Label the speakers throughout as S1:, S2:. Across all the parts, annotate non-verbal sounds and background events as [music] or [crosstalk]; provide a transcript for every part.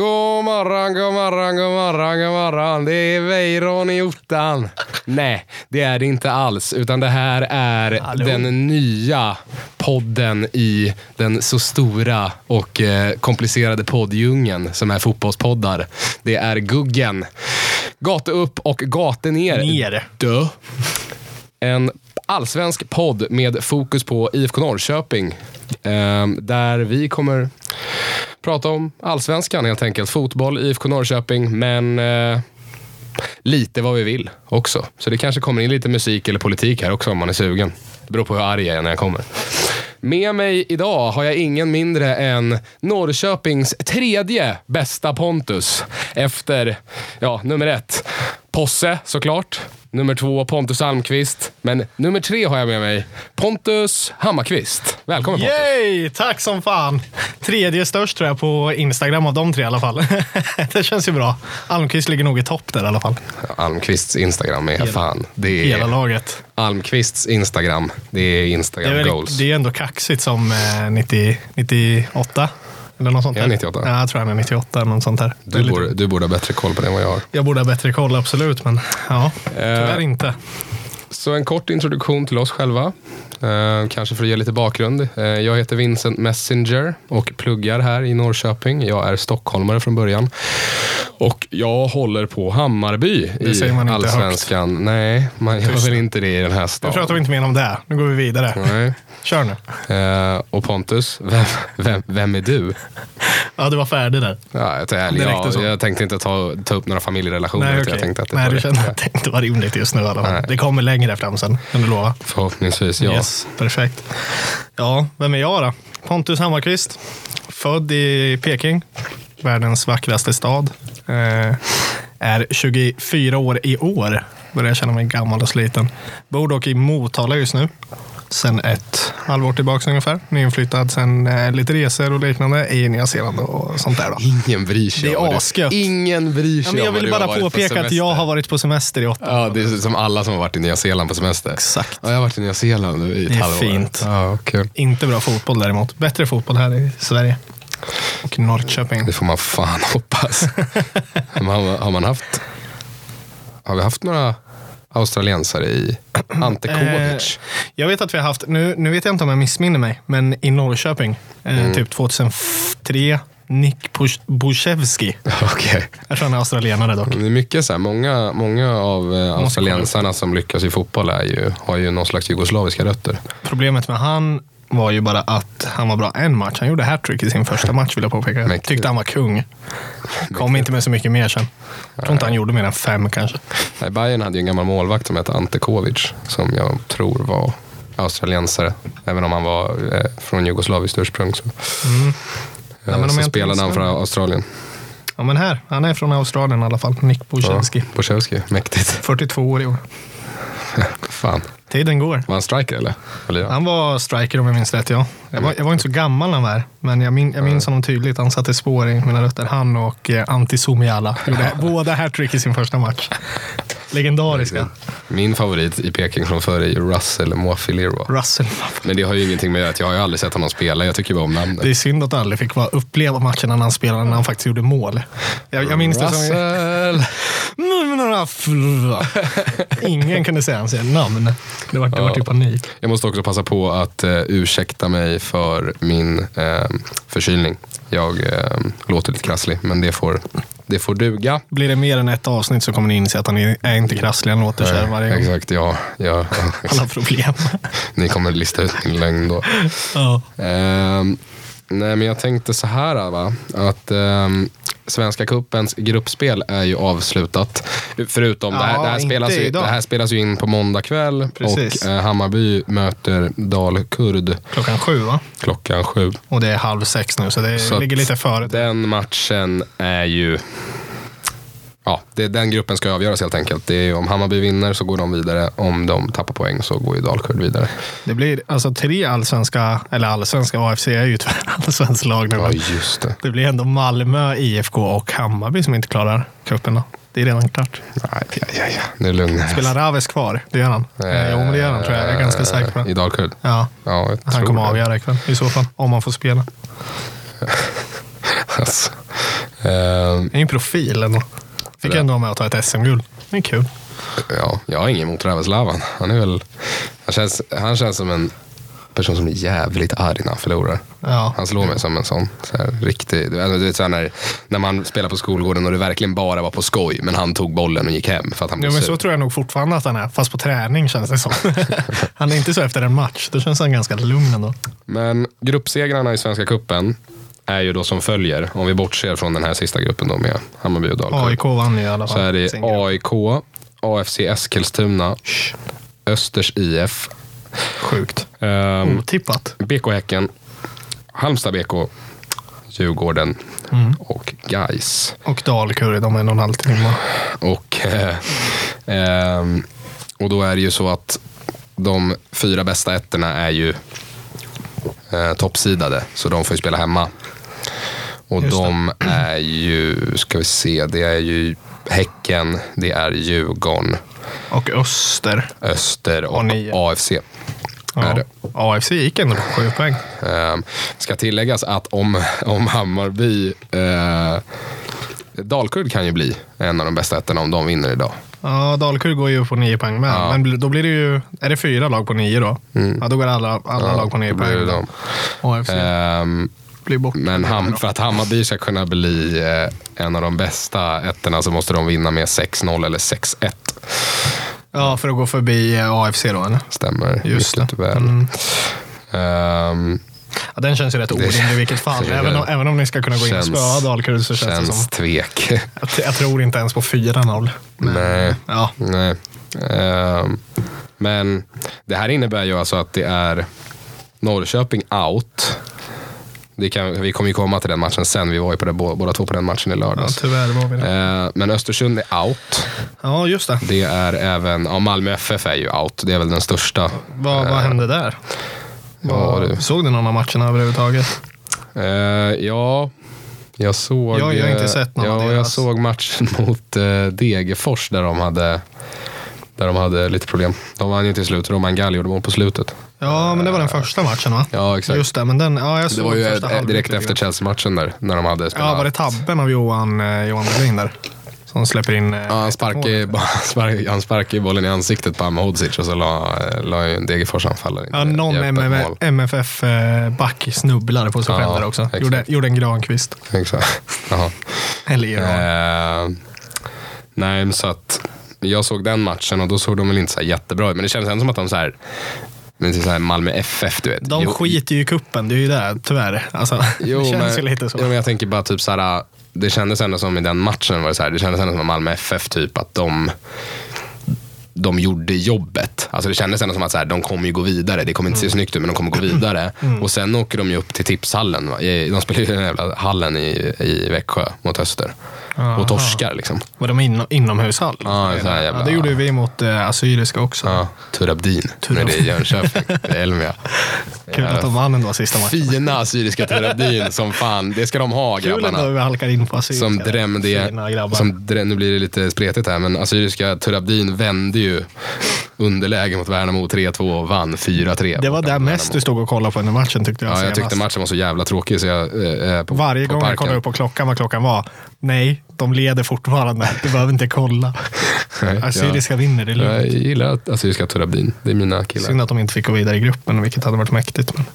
S1: God morgon, god morgon, god morgon, god morgon. Det är Weiron i ottan. Nej, det är det inte alls. Utan det här är
S2: Hallå.
S1: den nya podden i den så stora och eh, komplicerade poddjungeln som är fotbollspoddar. Det är Guggen. Gata upp och gata ner.
S2: Ner.
S1: Dö. En allsvensk podd med fokus på IFK Norrköping. Ehm, Där vi kommer prata om allsvenskan helt enkelt. Fotboll, IFK Norrköping, men eh, lite vad vi vill också. Så det kanske kommer in lite musik eller politik här också om man är sugen. Det beror på hur arg jag är när jag kommer. Med mig idag har jag ingen mindre än Norrköpings tredje bästa Pontus. Efter, ja, nummer ett, Posse såklart. Nummer två, Pontus Almqvist. Men nummer tre har jag med mig, Pontus Hammarqvist. Välkommen Pontus.
S2: Yay! Tack som fan! Tredje störst tror jag på Instagram av de tre i alla fall. [laughs] det känns ju bra. Almqvist ligger nog i topp där i alla fall.
S1: Almqvists Instagram är fan, det
S2: Hela
S1: är
S2: laget.
S1: Almqvists Instagram. Det är
S2: Det är,
S1: Instagram
S2: väl,
S1: goals.
S2: det är ju ändå kaxigt som eh, 90, 98. Eller något sånt
S1: Är han 98?
S2: Ja, jag tror han är 98 eller något sånt där. Det är
S1: Du
S2: lite-
S1: borde, du borde ha bättre koll på det än vad jag har.
S2: Jag borde ha bättre koll, absolut. Men
S1: Eh,
S2: ja, tyvärr inte.
S1: Så en kort introduktion till oss själva. Eh, kanske för att ge lite bakgrund. Eh, jag heter Vincent Messenger och pluggar här i Norrköping. Jag är stockholmare från början. Och jag håller på Hammarby i
S2: säger man inte högt.
S1: Allsvenskan. Nej, man gör
S2: Tyst.
S1: väl inte det i den här
S2: Nu pratar
S1: staden.
S2: vi inte mer om det. Nu går vi vidare.
S1: Nej.
S2: Kör nu.
S1: Eh, och Pontus, vem, vem, vem är du?
S2: Ja, du var färdig där.
S1: Ja, jag, tar ärlig,
S2: Det räckte
S1: ja,
S2: så.
S1: jag tänkte inte ta, ta upp några familjerelationer. utan
S2: okej.
S1: Jag tänkte att det
S2: Nej,
S1: var
S2: du
S1: det.
S2: kände att det inte var rimligt just nu i alla fall.
S1: Nej.
S2: Det kommer längre fram sen, kan du lova.
S1: Förhoppningsvis, ja.
S2: Yes, perfekt. Ja, vem är jag då? Pontus Hammarkvist. Född i Peking, världens vackraste stad. Eh, är 24 år i år. Börjar känna mig gammal och sliten. Bor dock i Motala just nu. Sen ett halvår tillbaka ungefär. Nyinflyttad. Sen eh, lite resor och liknande i Nya Zeeland och sånt där. Då.
S1: Ingen bryr sig
S2: Det är
S1: om vad du-
S2: asgött.
S1: Ingen bryr sig
S2: Ja, men jag
S1: om vad
S2: vill
S1: du har
S2: bara
S1: varit på
S2: påpeka att
S1: semester.
S2: jag har varit på semester i åtta
S1: Ja, det är som alla som har varit i Nya Zeeland på semester.
S2: Exakt.
S1: Ja, jag har varit i Nya Zeeland nu i ett
S2: Det är
S1: halvår.
S2: fint.
S1: Ja, kul.
S2: Inte bra fotboll däremot. Bättre fotboll här i Sverige. Och Norrköping.
S1: Det får man fan [laughs]
S2: [laughs]
S1: hoppas. Men har, har man haft... Har vi haft några australiensare i
S2: Eh,
S1: Ante
S2: [laughs]
S1: Kovic?
S2: Jag vet att vi har haft, nu, nu vet jag inte om jag missminner mig, men i Norrköping, eh,
S1: Mm.
S2: typ 2003, Nick Bus- Buszewski.
S1: [laughs] Okej.
S2: Jag tror han är australienare dock.
S1: Det är mycket så här, många, många av eh, australiensarna som lyckas i fotboll är ju, har ju någon slags jugoslaviska rötter.
S2: Problemet med han var ju bara att han var bra en match. Han gjorde hattrick i sin första match vill jag påpeka. Jag
S1: Mäktigt.
S2: tyckte han var kung. Kom inte med så mycket mer sen. Jag tror inte han gjorde mer än fem kanske.
S1: Nej, Bayern hade ju en gammal målvakt som hette Ante Kovic som jag tror var australiensare. Även om han var eh, från jugoslaviskt ursprung så,
S2: Mm. men om
S1: eh,
S2: jag
S1: så
S2: inte
S1: spelade han
S2: minns
S1: för Australien.
S2: Ja men här, han är från Australien i alla fall. Nick Buszewski.
S1: Ja, Boszewski. Mäktigt. [laughs]
S2: 42 år i år.
S1: Fan.
S2: Tiden går.
S1: Var han striker eller? eller ja.
S2: Han var striker om jag minns rätt, ja. Jag var, jag var inte så gammal när han var här, men jag, min, jag minns honom tydligt. Han satte spår i mina rötter. Han och eh, Antti [laughs] Suomiala gjorde båda hattrick i sin första match. Legendariska.
S1: Min favorit i Peking från förr är ju Russell Mwafilirwa.
S2: Russell.
S1: Men det har ju ingenting med att jag har ju aldrig sett honom spela. Jag tycker bara om namnet.
S2: Det är synd att jag aldrig fick vara uppleva matchen när han spelade, när han faktiskt gjorde mål. Jag, jag minns det som...
S1: Russell!
S2: [laughs] Ingen kunde säga hans namn. Det var, det var
S1: Ja.
S2: typ panik.
S1: Jag måste också passa på att eh, ursäkta mig för min eh, förkylning. Jag eh, låter lite krasslig, men det får, det får duga.
S2: Blir det mer än ett avsnitt så kommer ni inse att han är är inte krasslig. Han återkör
S1: Eh,
S2: varje gång.
S1: Exakt, ja. ja,
S2: [laughs]
S1: ja.
S2: Alla problem.
S1: Ni kommer lista ut min lögn då.
S2: ja.
S1: Ehm, nej, men jag tänkte så här va. Att ehm, Svenska Kuppens gruppspel är ju avslutat. Förutom det, här,
S2: Ja,
S1: det, här
S2: inte
S1: spelas ju, det
S2: idag.
S1: här spelas ju in på måndag kväll.
S2: Precis.
S1: Och eh, Hammarby möter Dalkurd
S2: Klockan sju, va?
S1: klockan sju.
S2: Och det är halv sex nu, så det
S1: Så
S2: ligger
S1: att
S2: lite före.
S1: Den matchen är ju... Ja, det, den gruppen ska avgöras helt enkelt. Det är ju om Hammarby vinner så går de vidare. Om de tappar poäng så går ju Dalkurd vidare.
S2: Det blir alltså tre allsvenska, eller allsvenska, AFC är ju ett allsvenskt lag nu.
S1: Ja,
S2: men
S1: just det.
S2: Det blir ändå Malmö, IFK och Hammarby som inte klarar cupen. då. Det är redan klart.
S1: Nej, ja, ja, ja. Nu lugnar jag
S2: Spelar Raves kvar? Det gör han. Eh, jo, men det gör han tror jag. Jag är ganska säker på
S1: Eh, I
S2: det.
S1: Dalkurd?
S2: Ja,
S1: Ja, jag tror
S2: han kommer
S1: det.
S2: avgöra ikväll i så fall. Om han får spela.
S1: [laughs] Alltså, Eh,
S2: Det är ju en profil ändå. Fick
S1: Sådär.
S2: ändå vara med och ta ett SM-guld. Det är kul.
S1: ja, jag har ingen emot Räveslavan. Han är väl... Han känns, han känns som en person som blir jävligt arg när han förlorar.
S2: Ja.
S1: Han slår mig som en sån så här, riktig... Du vet så här när, när man spelar på skolgården och det verkligen bara var på skoj, men han tog bollen och gick hem för att han
S2: Ja,
S1: blev
S2: men
S1: sur.
S2: så tror jag nog fortfarande att han är, fast på träning känns det som. [laughs] han är inte så efter en match, då känns han ganska lugn ändå.
S1: Men gruppsegrarna i Svenska Cupen är ju då som följer, om vi bortser från den här sista gruppen då med Hammarby och Dalkurd.
S2: AIK vann ju i alla fall.
S1: Så är det
S2: sin grupp.
S1: AIK, AFC Eskilstuna, Östers IF,
S2: Sjukt.
S1: ehm,
S2: Mm. Otippat.
S1: BK Häcken, Halmstad BK, Djurgården
S2: Mm.
S1: och Gais.
S2: Och Dalkurd om en och en halv timme.
S1: Och, eh, ehm, och då är det ju så att de fyra bästa ettorna är ju eh, toppsidade, så de får ju spela hemma. Och
S2: Just det.
S1: de är ju, ska vi se, det är ju Häcken, det är Djurgården,
S2: Och Öster.
S1: Öster och
S2: Och nio.
S1: AFC. Är det.
S2: AFC gick ändå på sju poäng.
S1: Ehm, ska tilläggas att om, om Hammarby... Eh, Dalkurd kan ju bli en av de bästa ettorna om de vinner idag.
S2: Ja, Dalkurd går ju på nio poäng med.
S1: Ja. Mm.
S2: Men bl- då blir det ju, är det fyra lag på nio då? Ja, då går alla, alla
S1: Ja,
S2: lag på nio
S1: då blir
S2: poäng.
S1: det dem.
S2: AFC
S1: Ehm,
S2: blir bort.
S1: men ham, för att Hammarby ska kunna bli eh, en av de bästa ettorna så måste de vinna med 6-0 eller 6-1.
S2: Ja, för att gå förbi eh, AFC då eller?
S1: Stämmer
S2: Just
S1: mycket
S2: det.
S1: väl.
S2: Mm.
S1: Ehm,
S2: Ja, den känns ju rätt orimlig i vilket fall.
S1: det-
S2: Även om, även om ni ska kunna gå in och
S1: Känns-
S2: spöa Dalkurd så känns, det
S1: känns
S2: som...
S1: tvek. [laughs]
S2: Jag, jag tror inte ens på 4-0. Men,
S1: Nej.
S2: Ja,
S1: Nej. Ehm, men det här innebär ju alltså att det är Norrköping out. Det kan, vi kommer ju komma till den matchen sen. Vi var ju på det, bå- båda två på den matchen i
S2: ja, typ.
S1: lördags.
S2: tyvärr var vi det.
S1: Ehm, men Östersund är out.
S2: Ja, just det.
S1: Det är även, ja, Malmö FF är ju out. Det är väl den största.
S2: Vad,
S1: Eh.
S2: vad hände där? Vad-
S1: du.
S2: Såg du någon av matcherna överhuvudtaget?
S1: Ehm, ja, jag såg...
S2: Jag- jag har inte
S1: eh,
S2: sett någon av
S1: ja, Jag
S2: deras.
S1: såg matchen [laughs] mot eh, Degerfors där de hade... Där de hade lite problem. De vann ju till slut. Roman Gall gjorde mål på slutet.
S2: Ja, men det var den första matchen va?
S1: Eh, Ja, exakt.
S2: Just det, men den, ja, jag
S1: Det
S2: såg
S1: var ju eh,
S2: första
S1: ett,
S2: halvlek
S1: direkt
S2: lite
S1: efter
S2: grann.
S1: Chelsea-matchen där, när de hade spelat.
S2: Ja, var det tabben av Johan, eh, Johan Berlin där? Som släpper in... eh,
S1: Ja, han sparkade, spark, [laughs] han sparkade ju bollen i ansiktet på Amahodzic och så la, eh, la ju en Degerfors-anfallare in
S2: Ja,
S1: ett
S2: någon
S1: öppet mål.
S2: MFF-back snubblade eh, på sig
S1: Ja,
S2: själv där också.
S1: exakt.
S2: Gjorde, gjorde en Granqvist.
S1: Exakt. [laughs] Jaha.
S2: Eller Iran.
S1: Eh, nej, men så att jag såg den matchen och då såg de väl inte så här jättebra ut, men det kändes ändå som att de så här, men typ så här Malmö FF, du vet.
S2: De
S1: Jo-
S2: skiter ju i kuppen, det är ju det tyvärr. Alltså, [laughs] det känns ju lite så.
S1: Jo, men jag tänker bara typ så här. Det kändes ändå som i den matchen, var det, så här, det kändes ändå som att Malmö FF typ att de de gjorde jobbet. Alltså det kändes ändå som att så här, de kommer ju gå vidare. Det kommer inte se
S2: Mm.
S1: snyggt ut, men de kommer gå
S2: [clears throat]
S1: vidare. Och sen åker de ju upp till tipshallen. va? I- De spelar ju i den jävla hallen i, i Växjö mot Öster.
S2: Aha.
S1: Och torskar liksom.
S2: Var de in, inomhushall?
S1: Ja, så här jävla-
S2: ja, det gjorde ju vi mot eh, Assyriska också.
S1: Ja, Turabdin. Nu är det i Jönköping. Det är Elmia.
S2: [laughs]
S1: Eh,
S2: Kul att de vann ändå sista matchen.
S1: Fina assyriska Turabdin som fan. Det ska de ha
S2: Kul
S1: grabbarna.
S2: ändå att vi halkar in på Assyriska.
S1: som
S2: där.
S1: drämde,
S2: Fina grabbar.
S1: som drä, nu blir det lite spretigt här, men assyriska Turabdin vände ju underläge mot Värnamo 3-2 och vann 4-3.
S2: det var
S1: borta
S2: där
S1: mot
S2: mest
S1: Värnamo.
S2: du stod och kollade på under matchen tyckte jag
S1: Ja, jag
S2: senast.
S1: tyckte matchen var så jävla tråkig så jag... eh, eh, på,
S2: Varje
S1: på
S2: gång jag
S1: parken.
S2: kollade upp på klockan vad klockan var. Nej, de leder fortfarande. Du behöver inte kolla.
S1: Nej, jag-
S2: Assyriska vinner, det är lugnt.
S1: Jag gillar att assyriska Turabdin. Det är mina killar.
S2: Synd att de inte fick gå vidare i gruppen, vilket hade varit mäktigt. Men...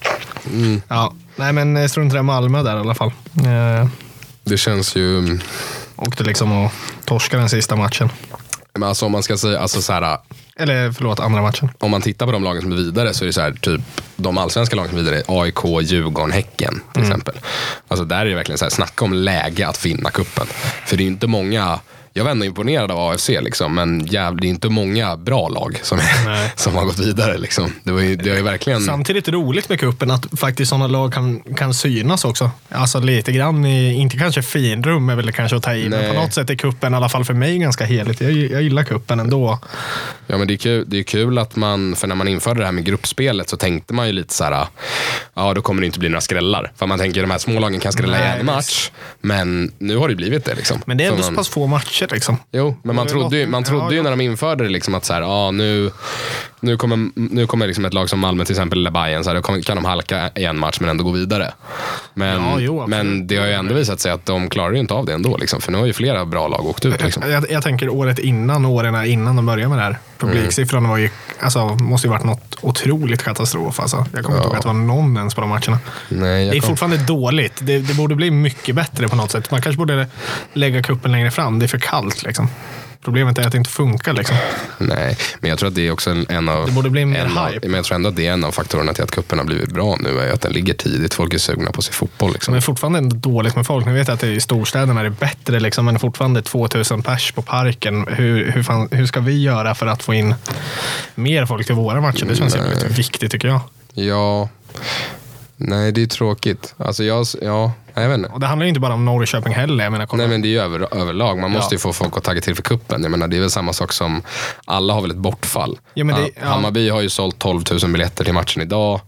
S1: Mm.
S2: Ja. Nej, men eh, strunt i det Malmö där i alla fall. Eh,
S1: Det känns ju... mm,
S2: åkte liksom och torskade den sista matchen.
S1: Men alltså om man ska säga, alltså så här,
S2: Eller förlåt, andra matchen.
S1: om man tittar på de lagen som är vidare så är det så här, typ de allsvenska lagen som är vidare, AIK, Djurgården, Häcken till
S2: Mm.
S1: exempel. Alltså där är det verkligen så här, snacka om läge att vinna kuppen. För det är ju inte många, jag var ändå imponerad av AFC liksom, men jävligt, det är inte många bra lag som,
S2: Nej.
S1: [laughs] som har gått vidare liksom. Det, var ju, det har ju verkligen...
S2: Samtidigt roligt med kuppen att faktiskt sådana lag kan, kan synas också. Alltså lite grann i, inte kanske finrum är väl kanske att ta i, men
S1: Nej.
S2: på något sätt är kuppen i alla fall för mig ganska heligt. Jag, jag gillar kuppen ändå.
S1: Ja, men det är, kul, det är kul att man, för när man införde det här med gruppspelet så tänkte man ju lite så här, ja då kommer det inte bli några skrällar. För man tänker de här små lagen kan skrälla
S2: Nej,
S1: i en match, men nu har det ju blivit det liksom.
S2: Men det är
S1: Så
S2: ändå
S1: man-
S2: så pass få matcher liksom.
S1: Jo, men man
S2: Det är
S1: trodde ju,
S2: något-
S1: man
S2: ja,
S1: trodde ju
S2: ja.
S1: när de införde det liksom att så här, ah, nu, Nu kommer, nu kommer liksom ett lag som Malmö till exempel, eller Bayern, så här, då kommer- kan de halka i en match men ändå gå vidare. Men,
S2: Ja, jo, absolut.
S1: men det har ju ändå visat sig att de klarar ju inte av det ändå. Liksom, för nu har ju flera bra lag åkt ut.
S2: [laughs]
S1: Liksom. Mm.
S2: Jag, jag tänker året innan, åren innan de började med det här. Publiksiffran var ju, alltså, måste ju varit något otroligt katastrof. Alltså. Jag kommer inte ihåg att det var någon ens på de matcherna.
S1: Nej,
S2: Det är
S1: jag kom,
S2: fortfarande dåligt. Det, det borde bli mycket bättre på något sätt. Man kanske borde lägga kuppen längre fram. Det är för kallt liksom. Problemet är att det inte funkar. Liksom.
S1: nej, men jag tror att det är också en, en av...
S2: Det borde bli mer
S1: en av,
S2: hype.
S1: men jag tror ändå att det är en av faktorerna till att cupen har blivit bra nu. är ju att den ligger tidigt. Folk är sugna på att se fotboll. Liksom.
S2: Men fortfarande ändå dåligt med folk. Ni vet att det är i storstäderna är det bättre, liksom, men fortfarande 2000 pers på parken. Hur, hur, fan, hur ska vi göra för att få in mer folk till våra matcher? Det känns jävligt viktigt tycker jag.
S1: Ja. Nej, det är tråkigt. Alltså jag, ja, nej, jag vet inte.
S2: Och det handlar ju inte bara om Norrköping heller. Jag menar, kolla.
S1: Nej men det är ju över, överlag. Man måste
S2: Ja.
S1: ju få folk att tagga till för kuppen. Jag menar, det är väl samma sak som, alla har väl ett bortfall.
S2: Ja, men det-
S1: Ha-
S2: ja.
S1: Hammarby har ju sålt 12 000 biljetter till matchen idag.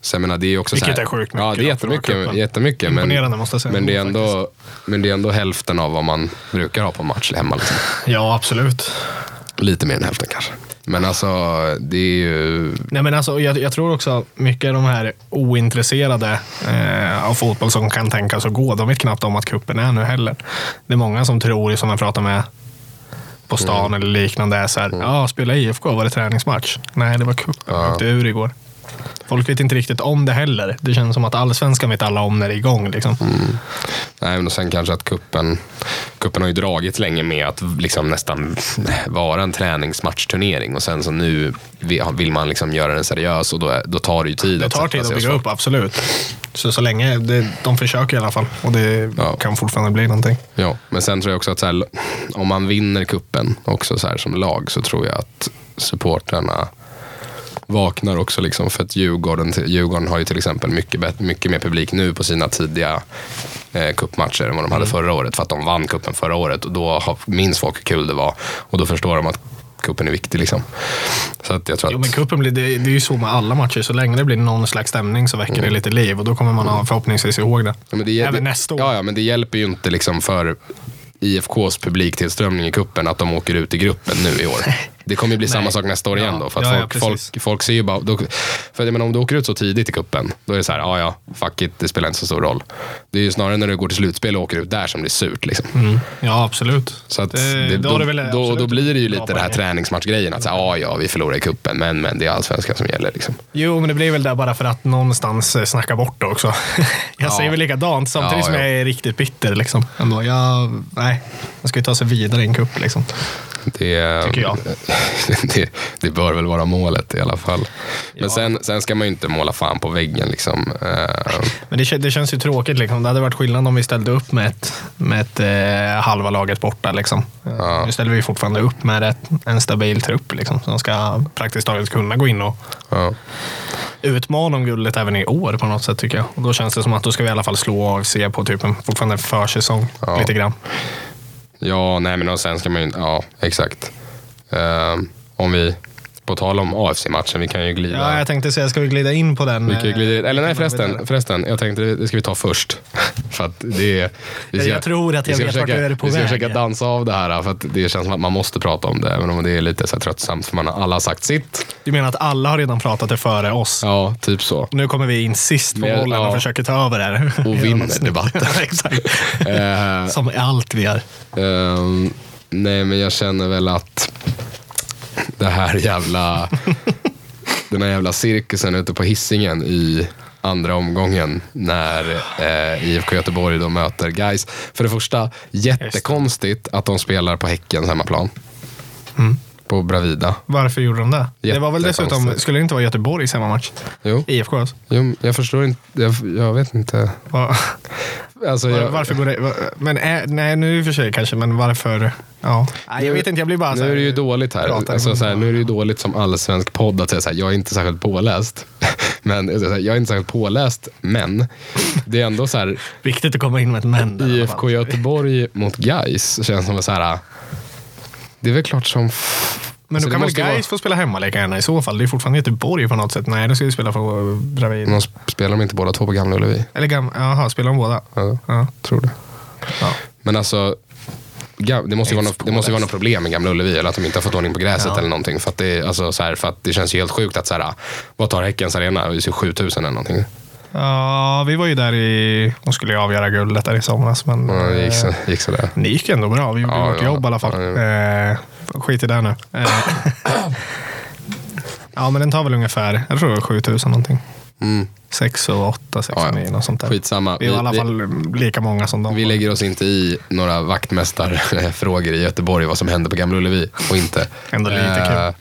S1: Så jag menar, det är ju också
S2: Vilket
S1: så här,
S2: är sjukt
S1: Ja, det är
S2: mycket då för
S1: jättemycket.
S2: kuppen.
S1: jättemycket men,
S2: Imponerande, måste jag säga.
S1: men, det är ändå, men det är ändå hälften av vad man brukar ha på en match hemma. Liksom.
S2: Ja, absolut.
S1: Lite mer än hälften kanske. Men alltså, det är ju...
S2: Nej, men alltså, jag, jag tror också mycket av de här ointresserade eh, av fotboll som kan tänka sig att gå, de vet knappt om att kuppen är nu heller. Det är många som tror, som jag pratar med
S1: Mm.
S2: på stan eller liknande, är så här, ja, spela IFK, var det träningsmatch? Nej, det var cupen,
S1: Ja.
S2: jag åkte ur igår. Folk vet inte riktigt om det heller. Det känns som att allsvenskan vet alla om när det är igång. Liksom.
S1: Mm, Nej, men och sen kanske att kuppen, kuppen har ju dragit länge med att liksom nästan vara en träningsmatchturnering och sen så nu vi- vill man liksom göra den seriös och då, är- då tar det ju tid.
S2: Det
S1: att
S2: tar
S1: sätta
S2: tid att
S1: sig och
S2: bygga upp, absolut. Så, så länge, det, de försöker i alla fall och det
S1: Ja.
S2: kan fortfarande bli någonting.
S1: Ja, men sen tror jag också att så här, om man vinner kuppen också så här som lag så tror jag att supportrarna vaknar också. Liksom för att Djurgården, Djurgården har ju till exempel mycket, bet- mycket mer publik nu på sina tidiga eh, kuppmatcher än vad de hade
S2: Mm.
S1: förra året. För att de vann kuppen förra året och då har- minns folk hur kul det var. Och då förstår de att kuppen är viktig. Liksom. Så att jag tror
S2: Jo,
S1: att...
S2: men cupen blir, det, det är ju så med alla matcher. Så länge det blir någon slags stämning så väcker det
S1: Mm.
S2: lite liv och då kommer man ha förhoppningsvis ihåg det.
S1: Ja, men det,
S2: Även
S1: det,
S2: nästa år.
S1: Ja, ja, men det hjälper ju inte liksom för IFKs publiktillströmning i kuppen att de åker ut i gruppen nu i år. Det kommer ju bli samma
S2: [laughs] Nej.
S1: sak nästa år igen
S2: Ja.
S1: då. För att
S2: Ja, ja,
S1: folk,
S2: precis.
S1: folk, folk ser ju bara... Då, för jag menar, om du åker ut så tidigt i kuppen då är det så här, ja ja, fuck it, det spelar inte så stor roll. Det är ju snarare när du går till slutspel och åker ut där som det är surt. Liksom.
S2: Mm. Ja, absolut.
S1: Så att
S2: Eh,
S1: det,
S2: då
S1: då,
S2: har du väl
S1: då, då,
S2: absolut
S1: blir det ju lite
S2: bra
S1: den här
S2: poäng.
S1: träningsmatchgrejen. Att så här, ja ja, vi förlorar i kuppen men, men det är allsvenskan som gäller. Liksom.
S2: Jo, men det blir väl där bara för att någonstans eh, snacka bort det också. [laughs] jag
S1: Ja.
S2: säger väl likadant samtidigt
S1: Ja,
S2: som
S1: ja.
S2: jag är riktigt bitter. Liksom. Ändå, jag, nej, man ska ju ta sig vidare i en cup. Liksom.
S1: Det,
S2: Tycker jag.
S1: [laughs] det, det bör väl vara målet i alla fall. Men
S2: Ja.
S1: sen, sen ska man ju inte måla fan på väggen. Liksom. Eh,
S2: Men det, kän- det känns ju tråkigt. Liksom. Det hade varit skillnad om vi ställde upp med ett, med ett eh, halva laget borta. Liksom.
S1: Ja.
S2: Nu ställer vi ju fortfarande upp med ett, en stabil trupp liksom, som ska praktiskt taget kunna gå in och
S1: ja.
S2: utmana om guldet även i år på något sätt tycker jag. Och då känns det som att då ska vi i alla fall slå AFC på typ en fortfarande en försäsong.
S1: Ja.
S2: Lite grann.
S1: ja, nej men och sen ska man ju inte- Ja, exakt. Eh, om vi, på tal om AFC-matchen, vi kan ju glida.
S2: Ja, jag tänkte säga, ska vi glida in på den?
S1: vi kan ju glida,
S2: eh,
S1: eller nej
S2: vilken man vill-
S1: förresten, förresten, jag tänkte det ska vi ta först. [laughs] För att det är, vi
S2: Jag tror att
S1: vi
S2: jag
S1: ska
S2: vet vart
S1: försöka,
S2: du är på
S1: Vi ska
S2: väg.
S1: försöka dansa av det här för att det känns som att man måste prata om det. Även om det är lite så här tröttsamt för man har alla har sagt sitt.
S2: Du menar att alla har redan pratat det före oss?
S1: Ja, typ
S2: [laughs]
S1: så.
S2: Nu kommer vi in sist på
S1: Men-
S2: bollen och
S1: ja.
S2: försöker ta över det [laughs] här.
S1: Och vinner
S2: [laughs]
S1: debatten.
S2: Exakt.
S1: Eh,
S2: Som i allt vi gör.
S1: Ehm, nej, men jag känner väl att det här
S2: [laughs]
S1: jävla, den här jävla cirkusen ute på hissingen i andra omgången när eh, IFK Göteborg då möter Gais. För det första, jättekonstigt att de spelar på Häckens hemmaplan.
S2: Mm.
S1: På Bravida.
S2: Varför gjorde de det? Det var väl
S1: Jättekonstigt.
S2: dessutom, skulle det inte vara Göteborgs hemmamatch?
S1: Jo,
S2: IFK alltså?
S1: jo jag förstår inte. Jag, jag vet inte.
S2: Va-
S1: Alltså,
S2: var,
S1: jag,
S2: [laughs] varför går det... va- Men eh, nej, nu i och för sig kanske, men varför? Ja. Nej, jag vet inte, Alltså, jag blir bara så
S1: Nu
S2: här-
S1: är det ju dåligt här.
S2: pratar
S1: Alltså,
S2: med-
S1: så här nu är det ju dåligt som allsvensk podd att säga så här, jag är inte särskilt påläst. [laughs] Men alltså, så här, jag är inte särskilt påläst, men det är ändå så
S2: [laughs]
S1: här,
S2: Viktigt att komma in med ett men. där i alla
S1: IFK
S2: fall.
S1: Göteborg mot Gais känns som så här, det är väl klart som f-
S2: Men
S1: Alltså,
S2: då
S1: det
S2: kan väl
S1: måste ju
S2: Gais
S1: vara-
S2: få spela hemma lika gärna i så fall? Det är fortfarande Göteborg på eh, något sätt. Nej, då ska vi spela för Bravida.
S1: de spelar de inte båda två på Gamla Ullevi?
S2: Eller gamla... Jaha, spelar de båda?
S1: Ja,
S2: Ja.
S1: tror det.
S2: ja.
S1: Men alltså, ga- det måste ju vara
S3: Helt
S1: något, det måste ju vara
S3: påläst.
S1: något problem med Gamla Ullevi, eller att de inte har fått ordning på gräset
S2: Ja.
S1: eller någonting. För att, det, alltså, så här, för att det känns ju helt sjukt att, så här, vad tar Häckens arena? Det är ju 7000 eller någonting.
S2: Ja, vi var ju där i... De skulle ju avgöra guldet där i somras, men...
S1: Ja, det gick,
S2: eh,
S1: så, gick sådär.
S2: Det gick ju ändå bra. Vi gjorde
S1: Ja,
S2: vårt
S1: ja.
S2: jobb i alla fall.
S1: Ja,
S2: Eh, skit i det nu. Eh, ja, men den tar väl ungefär, jag tror det var 7000 någonting.
S1: Mm.
S2: 6 och 8, 6
S1: Ja, ja.
S2: och 9, något sånt där.
S1: Skitsamma.
S2: Vi var i alla
S1: vi,
S2: fall lika många som de.
S1: vi
S2: var.
S1: lägger oss inte i några vaktmästarfrågor i Göteborg, vad som hände på Gamla Ullevi och inte.
S2: Ändå lite kul.
S1: Eh,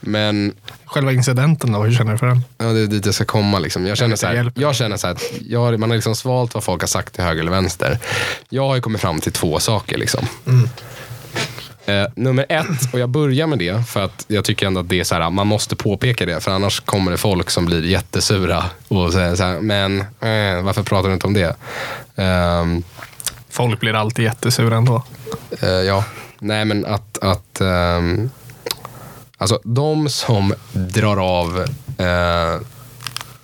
S1: Men
S2: Själva incidenten då, hur känner du för den?
S1: Ja, det är dit jag ska komma. Liksom. Jag, känner
S2: inte
S1: så här,
S2: hjälp.
S1: jag känner så här att jag har, man har liksom svalt vad folk har sagt till höger eller vänster. Jag har ju kommit fram till två saker. Liksom.
S2: Mm.
S1: Eh, nummer ett, och jag börjar med det, för att jag tycker ändå att det är så här, man måste påpeka det, för annars kommer det folk som blir jättesura och säger så här, men eh, varför pratar du inte om det? Ehm,
S2: Folk blir alltid jättesura ändå.
S1: Eh, ja, nej men att... att ehm, alltså de som drar av uh,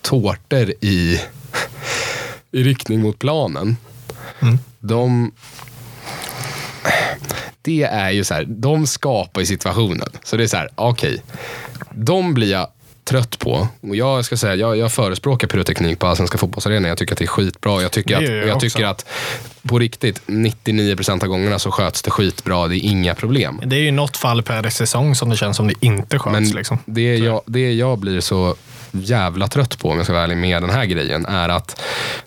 S1: tårtor i, i riktning mot planen,
S2: Mm.
S1: de... Det är ju så här, de skapar ju situationen. Så det är så här, okej, de blir jag trött på. Och jag ska säga, jag, jag förespråkar pyroteknik på Allsvenska fotbollsarenan. Jag tycker att det är skitbra. Jag tycker,
S2: Det
S1: att,
S2: gör jag
S1: jag
S2: också.
S1: tycker att på riktigt, 99% av gångerna så sköts det skitbra. Det är inga problem.
S2: Det är ju något fall per säsong som det känns som det inte sköts.
S1: Men
S2: liksom.
S1: det, jag, det jag blir så jävla trött på, om jag ska vara ärlig med den här grejen, är att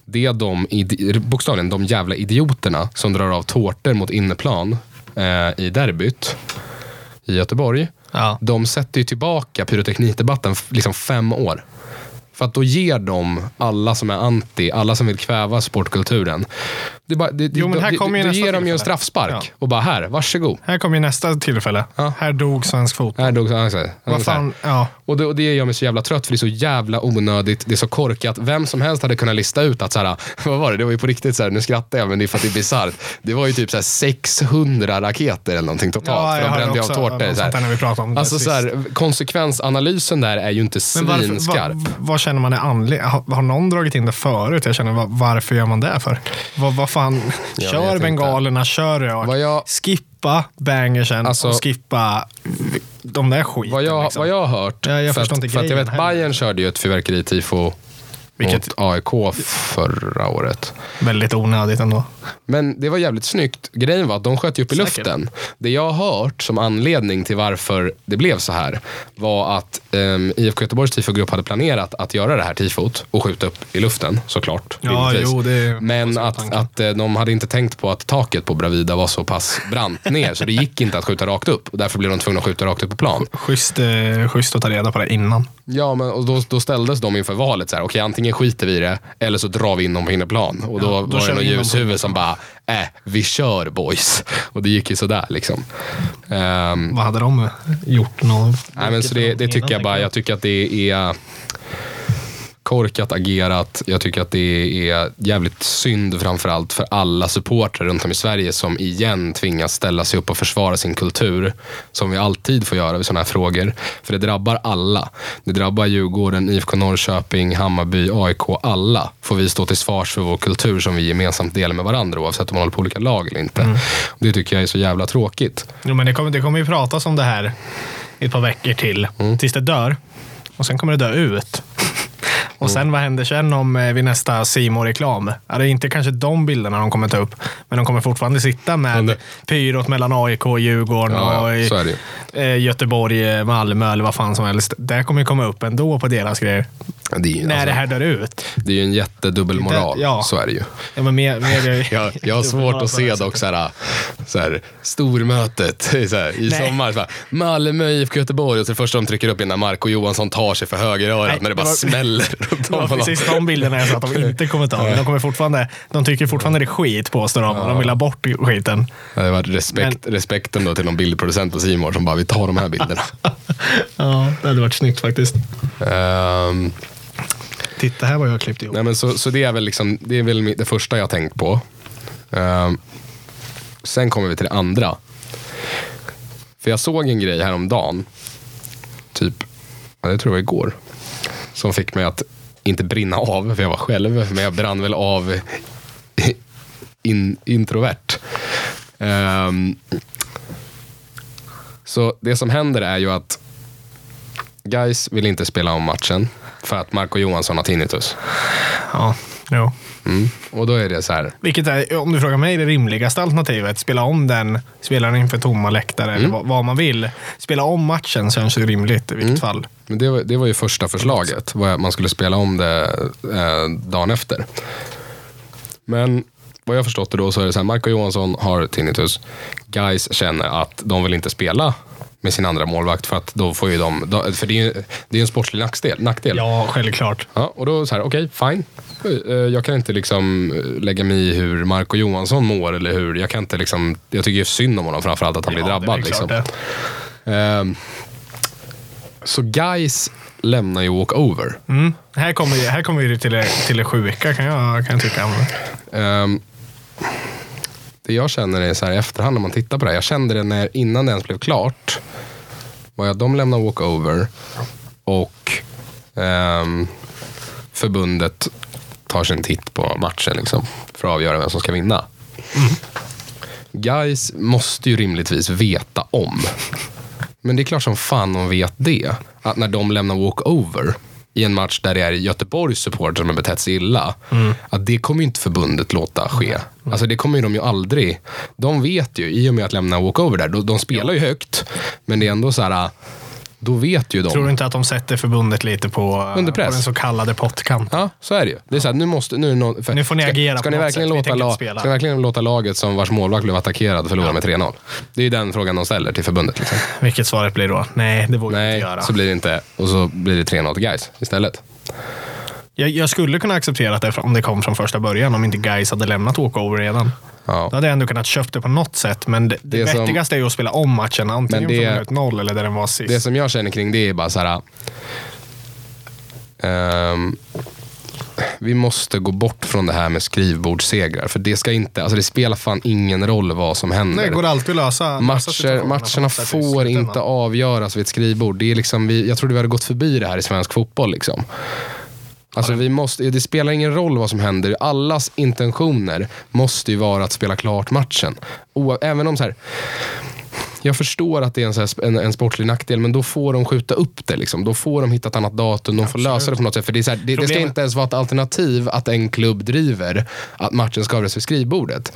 S1: det är de, idi- bokstavligen de jävla idioterna som drar av tårtor mot inneplan eh, i derbyt i Göteborg.
S2: Ja.
S1: De sätter ju tillbaka pyroteknikdebatten f- liksom fem år. För att då ger de alla som är anti, alla som vill kväva sportkulturen. Det är bara, det,
S2: Jo, men här
S1: det,
S2: kommer ju
S1: då
S2: nästa
S1: ger de ju en
S2: tillfälle.
S1: straffspark
S2: Ja.
S1: och bara här, varsågod.
S2: Här kommer ju nästa tillfälle.
S1: Ja.
S2: Här dog svensk fotboll.
S1: Här dog, han, han,
S2: Vad fan, ja.
S1: och det, och det gör mig så jävla trött, för det är så jävla onödigt. Det är så korkat. Vem som helst hade kunnat lista ut att, så här, [laughs] vad var det? Det var ju på riktigt, så här, nu skrattar jag, men det är för att det är bisarrt. Det var ju typ så här 600 raketer eller någonting totalt,
S2: Ja,
S1: för
S2: jag
S1: de
S2: hörde
S1: brände ju av
S2: också
S1: tårtor.
S2: något
S1: Så
S2: sånt där när vi pratade om det
S1: alltså,
S2: sist.
S1: så här, konsekvensanalysen där är ju inte
S2: Men varför,
S1: svinskarp.
S2: va, vad känner man är anledning? Har, har någon dragit in det förut? Jag känner, va, varför gör man det för? Vad vad fan,
S1: Jag
S2: [laughs] kör
S1: vet
S2: bengalerna, kör
S1: Vad
S2: rök.
S1: jag-
S2: Skippa bangersen
S1: Alltså-
S2: och skippa de där skiten.
S1: vad, jag,
S2: liksom.
S1: vad jag har hört,
S2: Ja, jag
S1: för,
S2: förstår
S1: att,
S2: inte
S1: för att jag
S2: grejen
S1: vet
S2: heller.
S1: Bayern körde ju ett fyrverkeritifo
S2: Vilket-
S1: mot AIK förra året.
S2: Väldigt onödigt ändå.
S1: Men det var jävligt snyggt. Grejen var att de sköt ju upp i
S2: Säkert.
S1: luften. Det jag har hört som anledning till varför det blev så här var att um, IFK Göteborgs tifogrupp hade planerat att göra det här tifot och skjuta upp i luften såklart.
S2: Ja,
S1: rimligtvis.
S2: jo, det-
S1: Men att, att eh, de hade inte tänkt på att taket på Bravida var så pass brant ner så det gick inte att skjuta rakt upp. Och därför blev de tvungna att skjuta rakt upp på plan.
S2: Schysst, eh, schysst att ta reda på det innan.
S1: Ja, men och då, då ställdes de inför valet. Så här, okej, antingen skiter vi i det eller så drar vi in dem på inneplan. Och då,
S2: då
S1: var
S2: kör
S1: det
S2: vi
S1: någon
S2: in dem på
S1: ljushuvud som bara, äh, vi kör boys. Och det gick ju sådär liksom. Ehm,
S2: Vad hade de gjort? Någon?
S1: nej, men så det, det tycker jag bara, jag tycker att det är korkat agerat. Jag tycker att det är jävligt synd framförallt för alla supportrar runt om i Sverige som igen tvingas ställa sig upp och försvara sin kultur. Som vi alltid får göra vid sådana här frågor. För det drabbar alla. Det drabbar Djurgården, IFK Norrköping, Hammarby, AIK. Alla får vi stå till svars för vår kultur som vi gemensamt delar med varandra oavsett om man håller på olika lag eller inte.
S2: Mm.
S1: Det tycker jag är så jävla tråkigt.
S2: Jo, men det kommer, det kommer ju pratas om det här i ett par veckor till.
S1: Mm.
S2: Tills det dör. Och sen kommer det dö ut.
S1: Mm.
S2: Och sen vad händer sen om eh, vid nästa Simo reklam ja, Det är inte kanske de bilderna de kommer ta upp. Men de kommer fortfarande sitta med
S1: Men det-
S2: pyrot mellan AIK, Djurgården
S1: Ja,
S2: och
S1: ja,
S2: i-
S1: så är det ju.
S2: eh, Göteborg, eh, Malmö eller vad fan som helst. Det kommer ju komma upp ändå på deras grejer.
S1: Det är ju,
S2: När
S1: alltså,
S2: det här dör ut.
S1: det är ju en jättedubbelmoral.
S2: Det- ja.
S1: Så är det ju.
S2: Ja, men
S1: [laughs]
S2: mer, mer, [laughs]
S1: Jag, jag har svårt att se dock så här, så här, stormötet [laughs] så här, i
S2: Nej.
S1: sommar. Så här, Malmö, IFK Göteborg och så det första de trycker upp innan Marco Johansson tar sig för högerörat
S2: Nej,
S1: när det bara
S2: det var-
S1: smäller
S2: [laughs]
S1: runt
S2: Det
S1: om
S2: var
S1: honom.
S2: precis de bilderna jag sa [laughs] att de inte kommer ta. Men de, kommer fortfarande, de tycker fortfarande det är skit, påstår de. och De vill ha bort skiten.
S1: Ja, Det var respekt, respekten då till någon bildproducent på Simor som bara, vi tar de här
S2: [laughs]
S1: bilderna.
S2: Ja, det hade varit snyggt faktiskt.
S1: Ehm,
S2: Titta här vad jag har klippt ihop.
S1: nej, men så, så det är väl, liksom, det, är väl mi- det första jag har tänkt på. Ehm, sen kommer vi till det andra. För jag såg en grej häromdagen, typ, ja, det tror jag var igår, som fick mig att inte brinna av, för jag [laughs] var själv, men jag brann väl av in, introvert. Ehm, så det som händer är ju att guys vill inte spela om matchen för att Marco Johansson har tinnitus.
S2: Ja, jo.
S1: Mm. Och då är det så här,
S2: Vilket är, om du frågar mig, det rimligaste alternativet. Spela om den, spela den inför tomma läktare
S1: Mm.
S2: eller vad, vad man vill. Spela om matchen känns ju rimligt i vilket
S1: Mm.
S2: fall.
S1: Men det, var, det var ju första förslaget, vad jag- man skulle spela om det eh, dagen efter. Men vad jag har förstått det då så är det så här, Marco Johansson har tinnitus. Guys känner att de vill inte spela med sin andra målvakt för att då får ju de, då- för det är ju det är ju en sportslig nackdel. nackdel.
S2: Ja, självklart.
S1: Ja, och då så här, okej, fine. Eh, Jag kan inte liksom eh, lägga mig i hur Marco Johansson mår eller hur, jag kan inte liksom, jag tycker ju synd om honom framförallt att han blir
S2: Ja, det är
S1: drabbad.
S2: klart
S1: liksom.
S2: det.
S1: Ehm, så guys lämnar ju walkover.
S2: Mm. Här kommer ju- här kommer ju det till, er- till er sjuka kan jag, kan jag tycka.
S1: Ehm, det jag känner är så här i efterhand när man tittar på det här. Jag kände det när, innan det ens blev klart. Var jag, de lämnar walkover och ehm, förbundet tar sin titt på matchen liksom, för att avgöra vem som ska vinna.
S2: Mm.
S1: Guys måste ju rimligtvis veta om. Men det är klart som fan de vet det. Att när de lämnar walkover i en match där det är Göteborgs supportrar som har betett sig illa.
S2: Mm.
S1: Att det kommer ju inte förbundet låta ske. Alltså det kommer ju de ju aldrig. De vet ju, i och med att lämna walkover där, de, de spelar ju högt. Men det är ändå så här, då vet ju de.
S2: Tror du inte att de sätter förbundet lite på,
S1: Under press.
S2: på den så kallade pottkanten?
S1: Ja, så är det ju. Det är så här, nu måste... Nu, är det någon, för,
S2: Nu får ni
S1: ska,
S2: agera
S1: ska
S2: på
S1: ni
S2: något
S1: verkligen
S2: sätt. Vi
S1: låta
S2: tänker
S1: la,
S2: inte spela.
S1: Ska ni verkligen låta laget som vars målvakt blev attackerad förlora med 3-0? Det är ju den frågan de ställer till förbundet. Liksom.
S2: Vilket svaret blir då? Nej, det vågar jag
S1: Nej,
S2: inte göra.
S1: så blir det inte. Och så blir det 3-0 till guys istället.
S2: Jag, jag skulle kunna acceptera det om det kom från första början, om inte guys hade lämnat walkover redan.
S1: Ja.
S2: Då hade jag ändå kunnat köpt det på något sätt, men det, det,
S1: Det som-
S2: vettigaste är ju att spela om matchen, antingen
S1: Men det-
S2: från minut noll eller där den var sist.
S1: Det som jag känner kring det är bara så här... ehm, vi måste gå bort från det här med skrivbordssegrar. För det ska inte... Alltså det spelar fan ingen roll vad som händer.
S2: Nej, går alltid att lösa. lösa
S1: Matcher,
S2: situationerna på
S1: matcherna
S2: något sätt i
S1: får
S2: slutändan.
S1: inte avgöras vid ett skrivbord. Det är liksom, vi, jag trodde vi hade gått förbi det här i svensk fotboll. Liksom. Alltså, vi måste, det spelar ingen roll vad som händer. Allas intentioner måste ju vara att spela klart matchen. Oa- även om så här, jag förstår att det är en, så här, sp- en, en sportlig nackdel, men då får de skjuta upp det. Liksom. Då får de hitta ett annat datum, de får lösa det på något sätt. För det, är så här, det, det ska
S2: Problemet-
S1: inte ens vara ett alternativ att en klubb driver att matchen ska avgöras vid skrivbordet.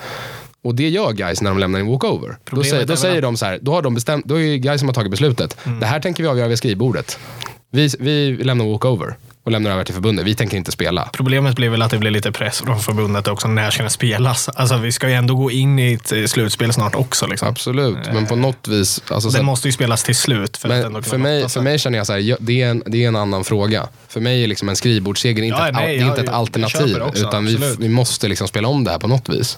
S1: Och det gör guys när de lämnar en walkover. Då
S2: Problemet
S1: säger, då
S2: är väl
S1: säger
S2: att- Mm.
S1: de så här, då har de bestämt, då är det guys som har tagit beslutet. Det här tänker vi avgöra vid skrivbordet. Vi, vi lämnar walkover och lämnar över till förbundet. Vi tänker inte spela.
S2: Problemet blir väl att det blir lite press från förbundet också. När ska det spelas? Alltså, vi ska ju ändå gå in i ett eh, slutspel snart också. Liksom.
S1: Absolut, men på något vis. Alltså, så
S2: Den
S1: att-
S2: måste ju spelas till slut. För, att ändå
S1: men
S2: kunna
S1: för, mig,
S2: lotta
S1: för
S2: sig.
S1: mig känner jag så här, jag- det, är en, det är en annan fråga. För mig är liksom en skrivbordsseger inte,
S2: Ja,
S1: ett,
S2: nej,
S1: al- det är
S2: jag-
S1: inte ett
S2: jag
S1: alternativ.
S2: köper också,
S1: Utan vi,
S2: absolut.
S1: vi måste liksom spela om det här på något vis.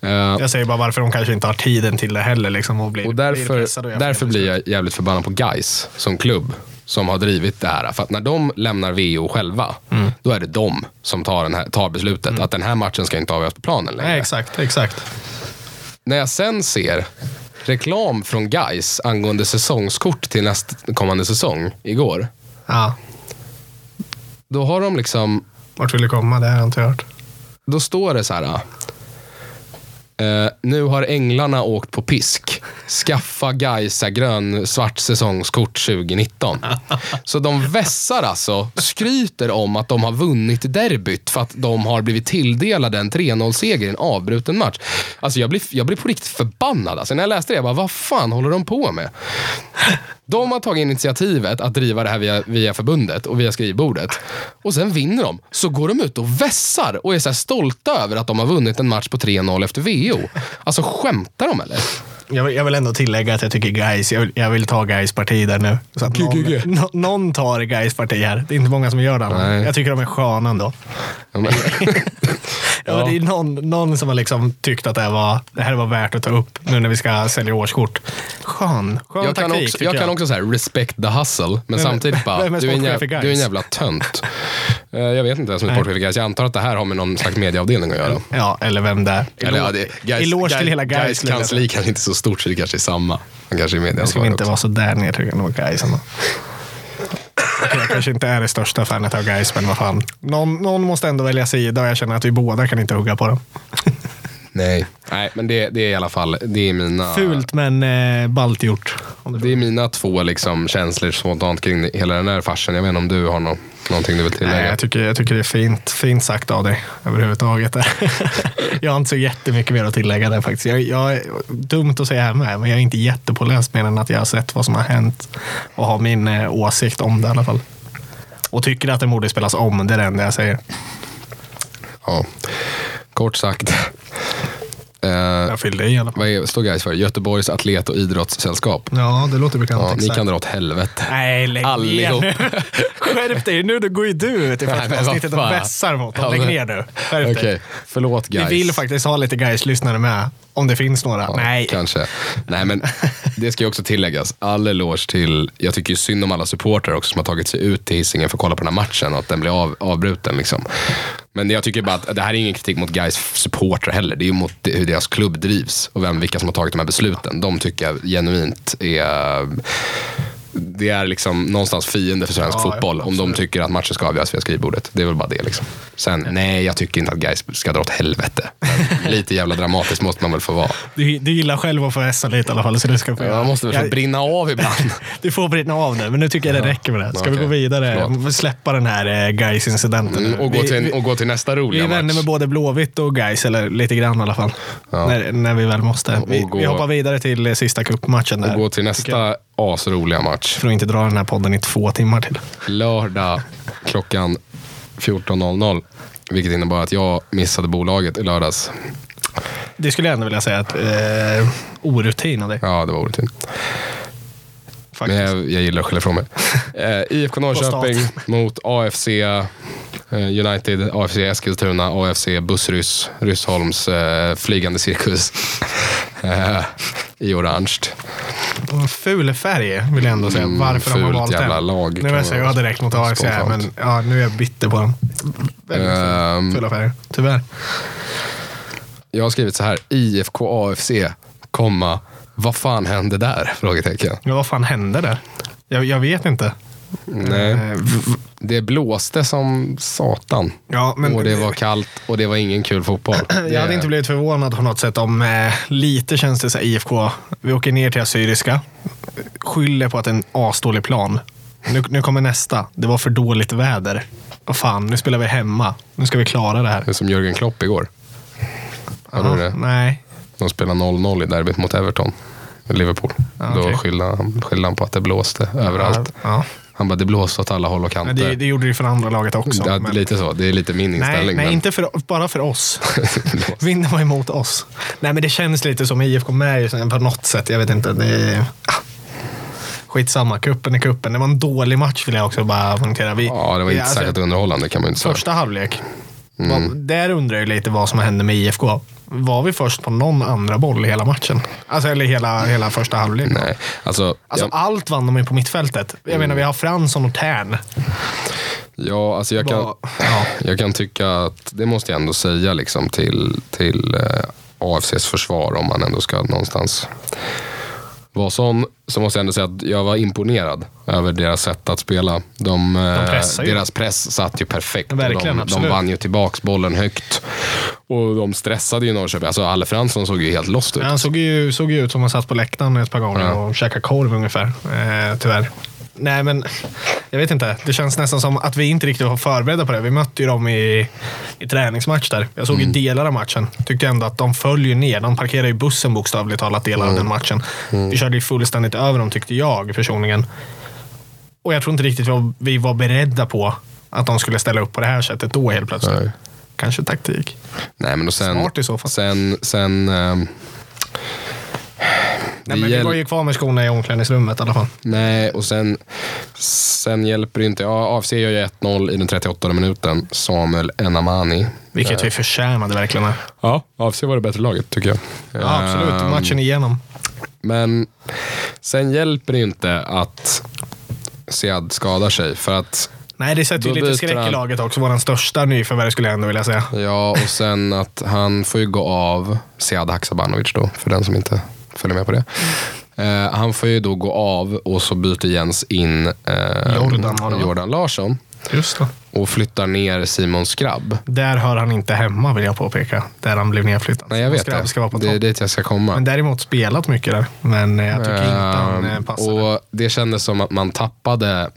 S1: Eh,
S2: Jag säger bara varför de kanske inte har tiden till det heller. Liksom, och blir,
S1: Och
S2: blir
S1: därför,
S2: pressade och gör
S1: därför
S2: fel
S1: blir jag jävligt förbannad på guys som klubb som har drivit det här. För att när de lämnar VO själva, då är det de som tar, den här, tar beslutet att den här matchen ska inte avgöras på planen längre.
S2: Nej, exakt. exakt.
S1: När jag sen ser reklam från guys angående säsongskort till nästkommande säsong igår,
S2: Ja.
S1: då har de liksom
S2: Vart vill du komma? Det har jag inte hört.
S1: då står det så här. "Ah, eh, nu har änglarna åkt på pisk. Skaffa Gaisa grön svart säsongskort 2019. Så de vässar alltså, skryter om att de har vunnit derbyt för att de har blivit tilldelade en 3-0-seger i en avbruten match. Alltså jag blir, jag blir på riktigt förbannad. Alltså när jag läste det, jag bara, vad fan håller de på med? De har tagit initiativet att driva det här via, via förbundet och via skrivbordet. Och sen vinner de. Så går de ut och vässar och är så här stolta över att de har vunnit en match på 3-0 efter VO. Alltså skämtar de eller?
S2: Jag vill, jag vill ändå tillägga att jag tycker guys, jag vill, jag vill ta guys parti där nu. Så att någon,
S1: GGG.
S2: nå- någon tar guys parti här. Det är inte många som gör det.
S1: Nej.
S2: annars. Jag tycker de är sköna ändå.
S1: Ja, men-
S2: Ja. men Det är någon, någon som har liksom tyckt att det här, var, det här var värt att ta upp nu när vi ska sälja årskort. Skön,
S1: [laughs]
S2: skön
S1: Jag kan
S2: taktik
S1: också,
S2: tycker
S1: jag kan också säga respect the hustle, men samtidigt bara,
S2: vem är
S1: du är, en
S2: sportchef i
S1: jävla,
S2: Gais?
S1: du är en jävla tönt. Eh, Jag vet inte vem som är
S2: Nej.
S1: sportchef i Gais. Jag antar att det här har med någon slags medieavdelning att göra.
S2: Ja, eller vem det är.
S1: Eller, ja, det, Gais-
S2: Eloge till
S1: Gais-
S2: hela Gais.
S1: Gais kansli kanske inte är så stort, så det kanske är samma. Han kanske är
S2: Jag ska
S1: medieansvarig
S2: inte
S1: också.
S2: vara så där nedtryckande mot Gais ändå. Okej, jag kanske inte är det största fanet av Gais, men vad fan. Någon, någon måste ändå välja sida och jag känner att vi båda kan inte hugga på dem.
S1: Nej, Nej men det, det är i alla fall det är mina,
S2: Fult men eh, ballt gjort. Om du-
S1: det är mina två liksom, känslor spontant kring hela den här farsen. Jag vet inte om du har nå- någonting du vill tillägga?
S2: Nej, jag, tycker, jag tycker det är fint, fint sagt av dig överhuvudtaget. [laughs] Där. jag har inte så jättemycket mer att tillägga där faktiskt. Jag, jag, dumt att säga här med, men jag är inte jättepåläst mer än att jag har sett vad som har hänt och har min eh, åsikt om det i alla fall. Och tycker att det borde spelas om, det är det enda jag säger.
S1: Ja. Kort sagt. Eh,
S2: Jag fyllde i i alla fall.
S1: vad är, står guys för? Göteborgs Atlet och Idrottssällskap.
S2: Ja, det låter bekant.
S1: Ja, ni
S2: exakt.
S1: kan dra åt helvete.
S2: Nej, lägg
S1: Allihop.
S2: ner nu. [laughs] Skärp dig nu, då går ju du till
S1: Nej, men
S2: första
S1: vad
S2: avsnittet och
S1: fan.
S2: vässar mot dem.
S1: Ja,
S2: Lägg
S1: men-
S2: ner nu. Skärp
S1: Okej,
S2: dig.
S1: förlåt guys.
S2: Vi vill faktiskt ha lite guys-lyssnare med, om det finns några.
S1: Ja,
S2: Nej,
S1: Kanske. Nej, men det ska ju också tilläggas. All eloge till, jag tycker ju synd om alla supportrar också som har tagit sig ut till Hisingen för att kolla på den här matchen och att den blir av, avbruten. Liksom. Men jag tycker bara att det här är ingen kritik mot guys supportrar heller. Det är ju mot det- hur deras klubb drivs och vem, vilka som har tagit de här besluten. De tycker jag genuint är det är liksom någonstans fiende för svensk
S2: Ja,
S1: fotboll om de tycker att matchen ska avgöras via skrivbordet. Det är väl bara det. Liksom. Sen, nej, jag tycker inte att guys ska dra åt
S2: [laughs]
S1: helvete. Men lite jävla dramatiskt måste man väl få vara.
S2: Du, du gillar själv att få hässa lite i alla fall, så det ska du få göra.
S1: Jag måste väl få
S2: Jag-
S1: brinna av ibland.
S2: [laughs] Du får brinna av nu, men nu tycker jag det räcker med det. Ska vi
S1: Okej.
S2: gå vidare?
S1: Förlåt. Mm,
S2: Vi släppa den här guys incidenten
S1: och, gå
S2: vi,
S1: till,
S2: vi,
S1: och gå till nästa
S2: vi
S1: roliga
S2: är vänner
S1: match.
S2: med både Blåvitt och guys eller lite grann i alla fall.
S1: Ja.
S2: När, när vi väl måste. Vi,
S1: Och gå-
S2: vi hoppar vidare till eh, sista cupmatchen där.
S1: Och gå till nästa asroliga match.
S2: För att inte dra den här podden i två timmar till.
S1: Lördag klockan 14.00. Vilket innebar att jag missade bolaget i lördags.
S2: Det skulle jag ändå vilja säga att eh, orutin av dig.
S1: Ja, det var orättvist. Men
S2: Faktiskt.
S1: jag, jag gillar att skylla
S2: [laughs]
S1: ifrån mig. Eh, IFK Norrköping mot AFC eh, United, AFC Eskilstuna, AFC Bussryss, Ryssholms eh, flygande cirkus. [laughs] Eh, I orange.
S2: Och En ful färg vill jag ändå säga.
S1: Mm,
S2: Varför de har
S1: fult
S2: valt den.
S1: jävla lag, kan
S2: Nu vill
S1: man
S2: jag säga jag direkt mot AFC, här, men
S1: spontant.
S2: ja, nu är jag bitter på dem. Väldigt
S1: Ehm.
S2: fula färger, tyvärr.
S1: Jag har skrivit så här, IFK AFC, komma, vad fan hände där? Frågetecken.
S2: Men vad fan hände där? Jag, jag vet inte.
S1: Nej.
S2: Eh, v- v-
S1: Det blåste som satan.
S2: Ja, men
S1: och det var kallt och det var ingen kul fotboll.
S2: [clears throat] Jag hade inte blivit förvånad på något sätt om eh, lite känns det så här IFK. Vi åker ner till Assyriska, skyller på att det är en asdålig plan. Nu, nu kommer nästa. Det var för dåligt väder. Vad fan, nu spelar vi hemma. Nu ska vi klara det här.
S1: Det är som Jörgen Klopp igår. Hörde
S2: Ja,
S1: du det?
S2: Nej,
S1: De spelade 0-0 i derbyt mot Everton. Liverpool.
S2: Ja,
S1: Då
S2: okej.
S1: skyllde han, skyllde han på att det blåste överallt.
S2: Ja.
S1: Han bara, det blåste åt alla håll och
S2: Men
S1: kanter.
S2: det, det gjorde det ju för andra laget också.
S1: Ja,
S2: men-
S1: Lite så. Det är lite min
S2: nej,
S1: inställning.
S2: nej
S1: men-
S2: inte för, bara för
S1: [laughs]
S2: oss. Vinden var emot oss. Nej, men det känns lite som IFK med ju sen på något sätt. Jag vet inte. Det är, ah. Skitsamma, kuppen är kuppen. Det var en dålig match vill jag också bara poängtera. Vi,
S1: Ja, det var inte Mm.
S2: vi- alltså,
S1: särskilt underhållande kan man ju inte säga.
S2: Första halvlek. Vad- Där undrar jag lite vad som hände med IFK. Var vi först på någon andra boll i hela matchen? Alltså, eller hela, hela första halvlek.
S1: Nej, Mm. alltså,
S2: Alltså,
S1: jag,
S2: Allt vann de ju på mittfältet. Jag menar, vi har Fransson och Tern.
S1: ja, alltså jag, kan,
S2: Vad- Ja.
S1: jag kan tycka att, det måste jag ändå säga liksom, till, till eh, AFCs försvar om man ändå ska någonstans vara sån, så måste jag ändå säga att jag var imponerad över deras sätt att spela. De, eh,
S2: pressar ju.
S1: deras press satt ju perfekt. och
S2: Verkligen,
S1: de, de
S2: absolut.
S1: vann ju tillbaks bollen högt. Och de stressade ju Norrköping. Alltså, Alle Fransson såg ju helt lost ut.
S2: Ja, Han såg ju, såg ju ut som han satt på läktaren ett par gånger
S1: Ja.
S2: och käkade korv ungefär, eh, tyvärr. Nej, men jag vet inte. Det känns nästan som att vi inte riktigt var förberedda på det. Vi mötte ju dem i, i träningsmatch där. Jag såg
S1: Mm.
S2: ju delar av matchen. Tyckte ändå att de föll ju ner. De parkerade ju bussen bokstavligt talat delar
S1: Mm.
S2: av den matchen. Vi körde ju fullständigt över dem tyckte jag personligen. Och jag tror inte riktigt vad vi var beredda på att de skulle ställa upp på det här sättet då helt plötsligt.
S1: Nej.
S2: Kanske taktik.
S1: Nej, men och sen,
S2: Smart i så fall.
S1: Sen, sen ehm, det
S2: Nej, men vi
S1: gäll-
S2: var ju kvar med skorna i omklädningsrummet i alla fall.
S1: Nej, och sen, sen hjälper det inte. Ja, AFC gör ju 1-0 i den 38 minuten. Samuel Enamani.
S2: Vilket vi förtjänade verkligen. Ja,
S1: Ja, AFC var det bättre laget tycker jag.
S2: absolut.
S1: Ehm,
S2: Matchen igenom.
S1: Men sen hjälper det inte att Sead skadar sig. För att,
S2: Nej, det sätter
S1: då
S2: ju lite
S1: byter
S2: skräck i
S1: han.
S2: laget också. Vår största nyförvärv skulle jag ändå vilja säga.
S1: ja, och sen att han får ju gå av Sead Haksabanovic då, för den som inte följer med på det. Ehm, Eh, han får ju då gå av och så byter Jens in eh,
S2: Jordan var det, va?
S1: Jordan Larsson.
S2: Just det.
S1: och flyttar ner Simon Skrabb.
S2: Där hör han inte hemma vill jag påpeka. Där han blev nedflyttad.
S1: Nej, jag
S2: Så
S1: vet
S2: Skrabb
S1: det.
S2: ska vara på
S1: det är
S2: topp.
S1: dit jag ska komma.
S2: Men däremot spelat mycket där. Men eh, jag tycker inte han eh,
S1: Ehm,
S2: passade.
S1: och det kändes som att man tappade...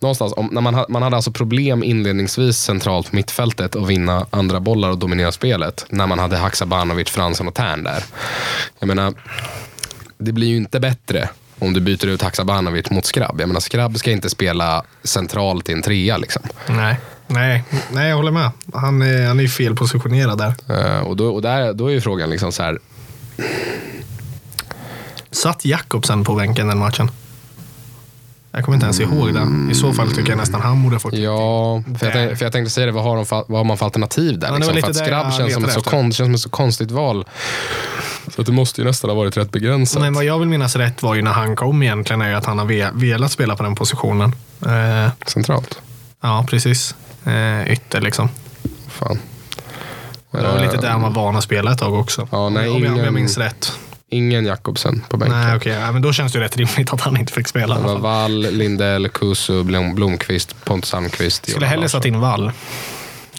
S1: Någonstans, om, när man, ha- man hade alltså problem inledningsvis centralt på mittfältet att vinna andra bollar och dominera spelet. När man hade Haksabanovic, Fransson och Tern där. Jag menar, det blir ju inte bättre om du byter ut Haksabanovic mot Skrabb. Jag menar, Skrabb ska inte spela centralt i en trea liksom.
S2: Nej. Nej. Nej, jag håller med. Han är, han är ju felpositionerad där.
S1: Eh, och då, och där, då är ju frågan liksom så här,
S2: Satt Jakobsen på bänken den matchen? Jag kommer inte ens ihåg det. I så fall tycker jag nästan han borde ha fått
S1: Ja, för jag,
S2: Där.
S1: tänkte, för jag tänkte säga det, vad har, de för, vad har man för alternativ där?
S2: det var
S1: liksom?
S2: lite
S1: För att
S2: där
S1: Skrabb
S2: jag
S1: känns som, ett
S2: letade
S1: så
S2: efter.
S1: kon, känns som ett så konstigt val. Så att det måste ju nästan ha varit rätt begränsat.
S2: Men vad jag vill minnas rätt var ju när han kom egentligen, är ju att han har ve- velat spela på den positionen. Eh,
S1: Centralt.
S2: ja, precis. Eh, ytter liksom.
S1: Fan.
S2: Det var väl lite
S1: Eh,
S2: där han var van att spela ett tag också.
S1: Ja, nej,
S2: om, jag, om
S1: ingen-
S2: jag minns rätt.
S1: Eh, Ingen Jakobsen på bänken.
S2: Nej, okej. Ja, men då känns det ju rätt rimligt att han inte fick spela. i
S1: Det
S2: alla
S1: var
S2: fall.
S1: Wall, Lindell, Kusu, Blom, Blomqvist, Pontus Almqvist.
S2: Skulle
S1: Johan
S2: hellre
S1: Larsson.
S2: satt in Wall.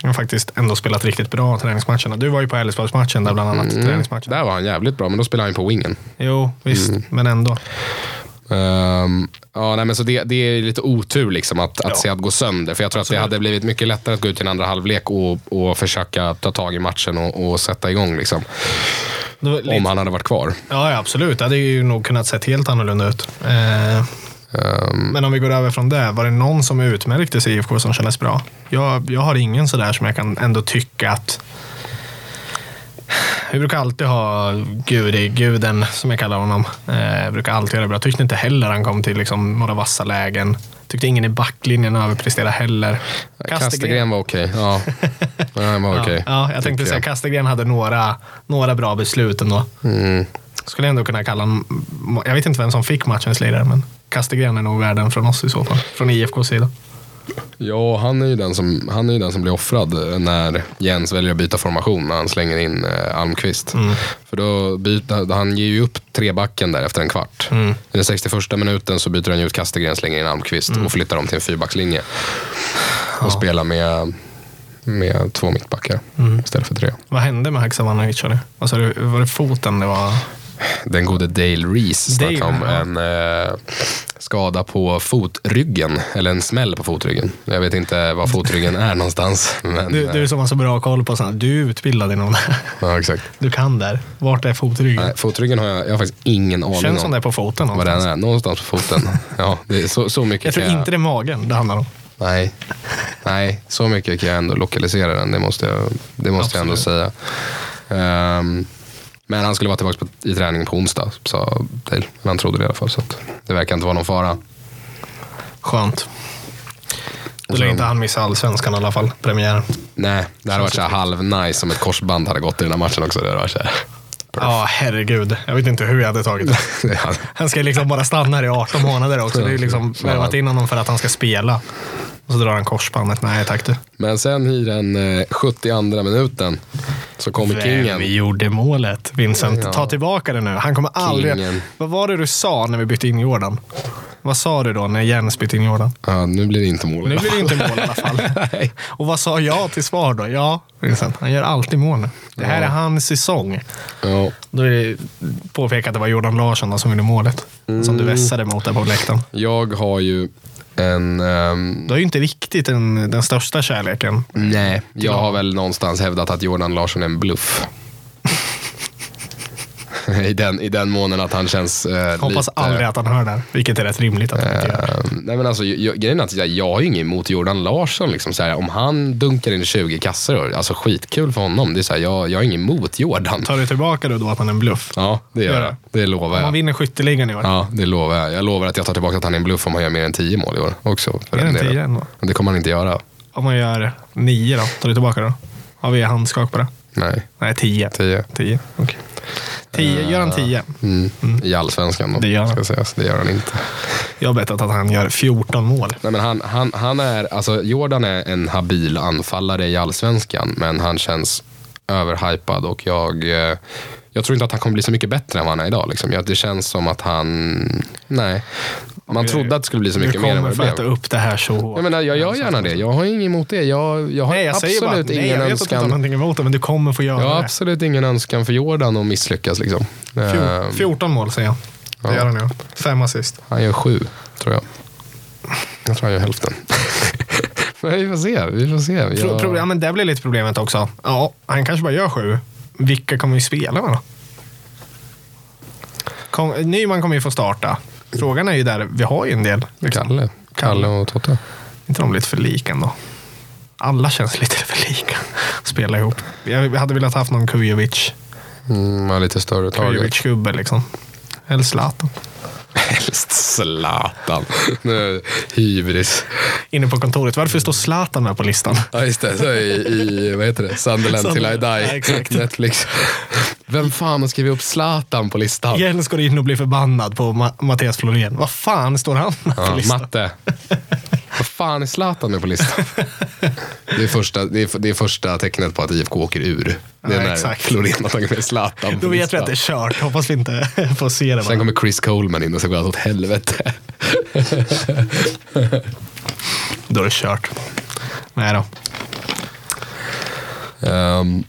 S2: Han har faktiskt ändå spelat riktigt bra träningsmatcherna. Du var ju på Elfsborgsmatchen där bland annat. Träningsmatchen.
S1: Mm. Där Mm. var han jävligt bra, men då spelade han ju på wingen.
S2: Jo, visst. Men ändå.
S1: Ehm, ja, nej, men så det, det är lite otur liksom att, att
S2: Ja.
S1: se att gå sönder. För jag tror att det
S2: Absolut.
S1: hade blivit mycket lättare att gå ut i en andra halvlek och, och försöka ta tag i matchen och, och sätta igång. Liksom,
S2: Det var lite-
S1: om han hade varit kvar.
S2: Ja, ja, absolut. Det hade ju nog kunnat sett helt annorlunda ut. Eh,
S1: Ehm.
S2: Men om vi går över från det. Var det någon som utmärkte sig i IFK som kändes bra? Jag, jag har ingen sådär som jag kan ändå tycka att... Vi brukar alltid ha Gudi, guden som jag kallar honom. Eh, brukar alltid göra det bra. Tyckte inte heller han kom till liksom några vassa lägen. Tyckte ingen i backlinjen överpresterade heller.
S1: Kastegren var okej.
S2: [laughs]
S1: Ja. ja, han var okej.
S2: Ja, jag
S1: tycker
S2: tänkte säga Kastegren hade några, några bra beslut ändå.
S1: Mm.
S2: Skulle jag ändå kunna kalla honom, jag vet inte vem som fick matchens lirare, men Kastegren är nog värden från oss i så fall. Från IFKs sida.
S1: Ja, han är, ju den som, han är ju den som blir offrad när Jens väljer att byta formation när han slänger in eh, Almqvist.
S2: Mm.
S1: För då byter, han ger ju upp trebacken där efter en kvart.
S2: Mm.
S1: I den 61 minuten så byter han ju ut Kastegren, slänger in Almqvist
S2: Mm.
S1: och flyttar dem till en fyrbackslinje. Och spelar med, med två mittbackar
S2: Mm.
S1: istället för tre.
S2: Vad hände med Haksabanovic? sa du? Vad sa du? Var det foten det var?
S1: Den gode Dale Reese
S2: Dale,
S1: snackade om
S2: ja.
S1: en eh, skada på fotryggen, eller en smäll på fotryggen. Jag vet inte var fotryggen är
S2: [laughs]
S1: någonstans. Men, eh,
S2: Du, du som har så bra koll på sånt. Du är utbildad inom det.
S1: Ja, exakt.
S2: [laughs] Du kan där. Vart är fotryggen?
S1: Nej, fotryggen har jag, jag har faktiskt ingen aning
S2: Känns som
S1: om.
S2: det är på foten
S1: Vad den
S2: någonstans.
S1: är, någonstans på foten.
S2: [laughs]
S1: Ja, det är så, så mycket
S2: Jag tror
S1: kan
S2: inte det är magen det handlar om.
S1: Nej. Nej, så mycket kan jag ändå lokalisera den. Det måste jag, det måste jag ändå säga. Ehm, men han skulle vara tillbaka på, i träning på onsdag, sa Dale. Men han trodde det i alla fall, så att det verkar inte vara någon fara.
S2: Skönt. Då lär inte han missa allsvenskan i alla fall. Premiären.
S1: Nej, det hade varit så här halv-nice om ett korsband hade gått i den här matchen också. Det hade varit så här. [laughs]
S2: Ja, herregud. Jag vet inte hur jag hade tagit det.
S1: Det hade-
S2: Han ska liksom bara stanna här i 18 månader också. Det är ju liksom värvat in honom för att han ska spela. Och så drar han korsbandet. Nej tack du.
S1: Men sen i den eh, 72 minuten så kommer kingen.
S2: gjorde målet? Vincent, ta tillbaka det nu. Han kommer aldrig...
S1: Kingen.
S2: Vad var det du sa när vi bytte in Jordan? Vad sa du då när Jens bytte in Jordan?
S1: Ja, nu blir det inte mål.
S2: Nu blir det inte mål i alla fall. [laughs]
S1: Nej.
S2: Och vad sa jag till svar då? Ja, Vincent, han gör alltid mål nu. Det här
S1: Ja.
S2: är hans säsong.
S1: Ja.
S2: Då är det påpekat att det var Jordan Larsson då som gjorde målet. Som du
S1: Mm.
S2: vässade mot där på läktaren.
S1: Jag har ju en... ehm,
S2: Du har ju inte riktigt den, den största kärleken
S1: nej, jag har väl någonstans hävdat att Jordan Larsson är en bluff. [laughs] I, den, I den månen att han känns eh,
S2: Hoppas
S1: lite...
S2: aldrig att han hör det här, vilket är rätt rimligt att han inte gör.
S1: Eh, nej men alltså, jag, grejen är att jag, jag har ju inget emot Jordan Larsson. Liksom, så här, om han dunkar in 20 kassor, alltså skitkul för honom. Det är så här, jag, jag har inget emot Jordan.
S2: Tar du tillbaka det då att han är en bluff?
S1: Ja, det gör
S2: Gör
S1: jag. Det lovar
S2: Om han
S1: jag.
S2: vinner skytteligan i år,
S1: Ja, det lovar jag. Jag lovar att jag tar tillbaka att han är en bluff om han gör mer än 10 mål i år också. För
S2: Mer
S1: den
S2: än
S1: delen.
S2: 10 ändå.
S1: Men Det kommer han inte göra.
S2: om han gör nio då, tar du tillbaka det då? Har vi handskak på det?
S1: Nej,
S2: Nej, tio.
S1: 10.
S2: Tio, okej.
S1: Eh.
S2: Tio, gör han tio?
S1: Mm. I allsvenskan då,
S2: Det gör han.
S1: ska sägas. Det gör han inte.
S2: Jag har bettat att han gör 14 mål.
S1: Nej, men han, han, han är, alltså Jordan är en habil anfallare i allsvenskan, men han känns överhypad och jag, eh, jag tror inte att han kommer bli så mycket bättre än vad han är idag. Liksom. Jag, det känns som att han, nej. Man
S2: vi-
S1: trodde att det skulle bli så
S2: Du
S1: mycket mer än
S2: kommer
S1: vad
S2: få
S1: det
S2: äta
S1: blev.
S2: upp det här så hårt.
S1: Jag menar, jag gör gärna det. Jag har inget emot det. Jag, jag har
S2: Nej, jag säger
S1: absolut
S2: bara, nej, jag
S1: ingen
S2: vet att du inte har
S1: önskan.
S2: någonting emot det, men du kommer få göra
S1: Jag har
S2: det.
S1: absolut ingen önskan för Jordan att misslyckas. Liksom.
S2: Fjor-
S1: Ehm,
S2: 14 mål säger jag. Det
S1: Ja.
S2: gör han ju. Fem assist.
S1: Han gör sju, tror jag. Jag tror han gör hälften. [laughs] Men vi får se. Vi får se.
S2: Pro-
S1: Jag...
S2: Pro- ja, men det blir lite problemet också. Ja, han kanske bara gör sju. Vilka kommer vi spela med då? Kom, Nyman kommer ju få starta. Frågan är ju där, vi har ju en del. Liksom.
S1: Kalle. Kalle och Totte.
S2: inte de lite för lika ändå? Alla känns lite för lika. Spela ihop. Jag hade velat haft någon Kujovic.
S1: Mm, har lite större target.
S2: Kujovic-gubbe liksom. Eller Zlatan.
S1: Helst
S2: [laughs]
S1: Zlatan. Nu, Hybris.
S2: Inne på kontoret. Varför står Zlatan med på listan?
S1: Ja, just det. Så i, i vad heter det? Sunderland till I die.
S2: Ja, exakt.
S1: Netflix. Vem fan har skrivit upp Zlatan på listan?
S2: Jens går in och blir förbannad på Ma- Mattias Florén. Vad fan står han med på
S1: Ja,
S2: listan?
S1: matte. Vad fan är Zlatan med på
S2: [laughs]
S1: listan? Det är, första, det, är, det är första tecknet på att IFK åker ur. Det
S2: Ja,
S1: är när
S2: exakt.
S1: Florén har tagit med Zlatan på
S2: Då vet vi
S1: listan.
S2: att det är kört. Hoppas vi inte [laughs] får se det.
S1: Sen
S2: Bara.
S1: kommer Chris Coleman in och så går allt åt helvete.
S2: Då är det kört. Nej då.
S1: Ehm,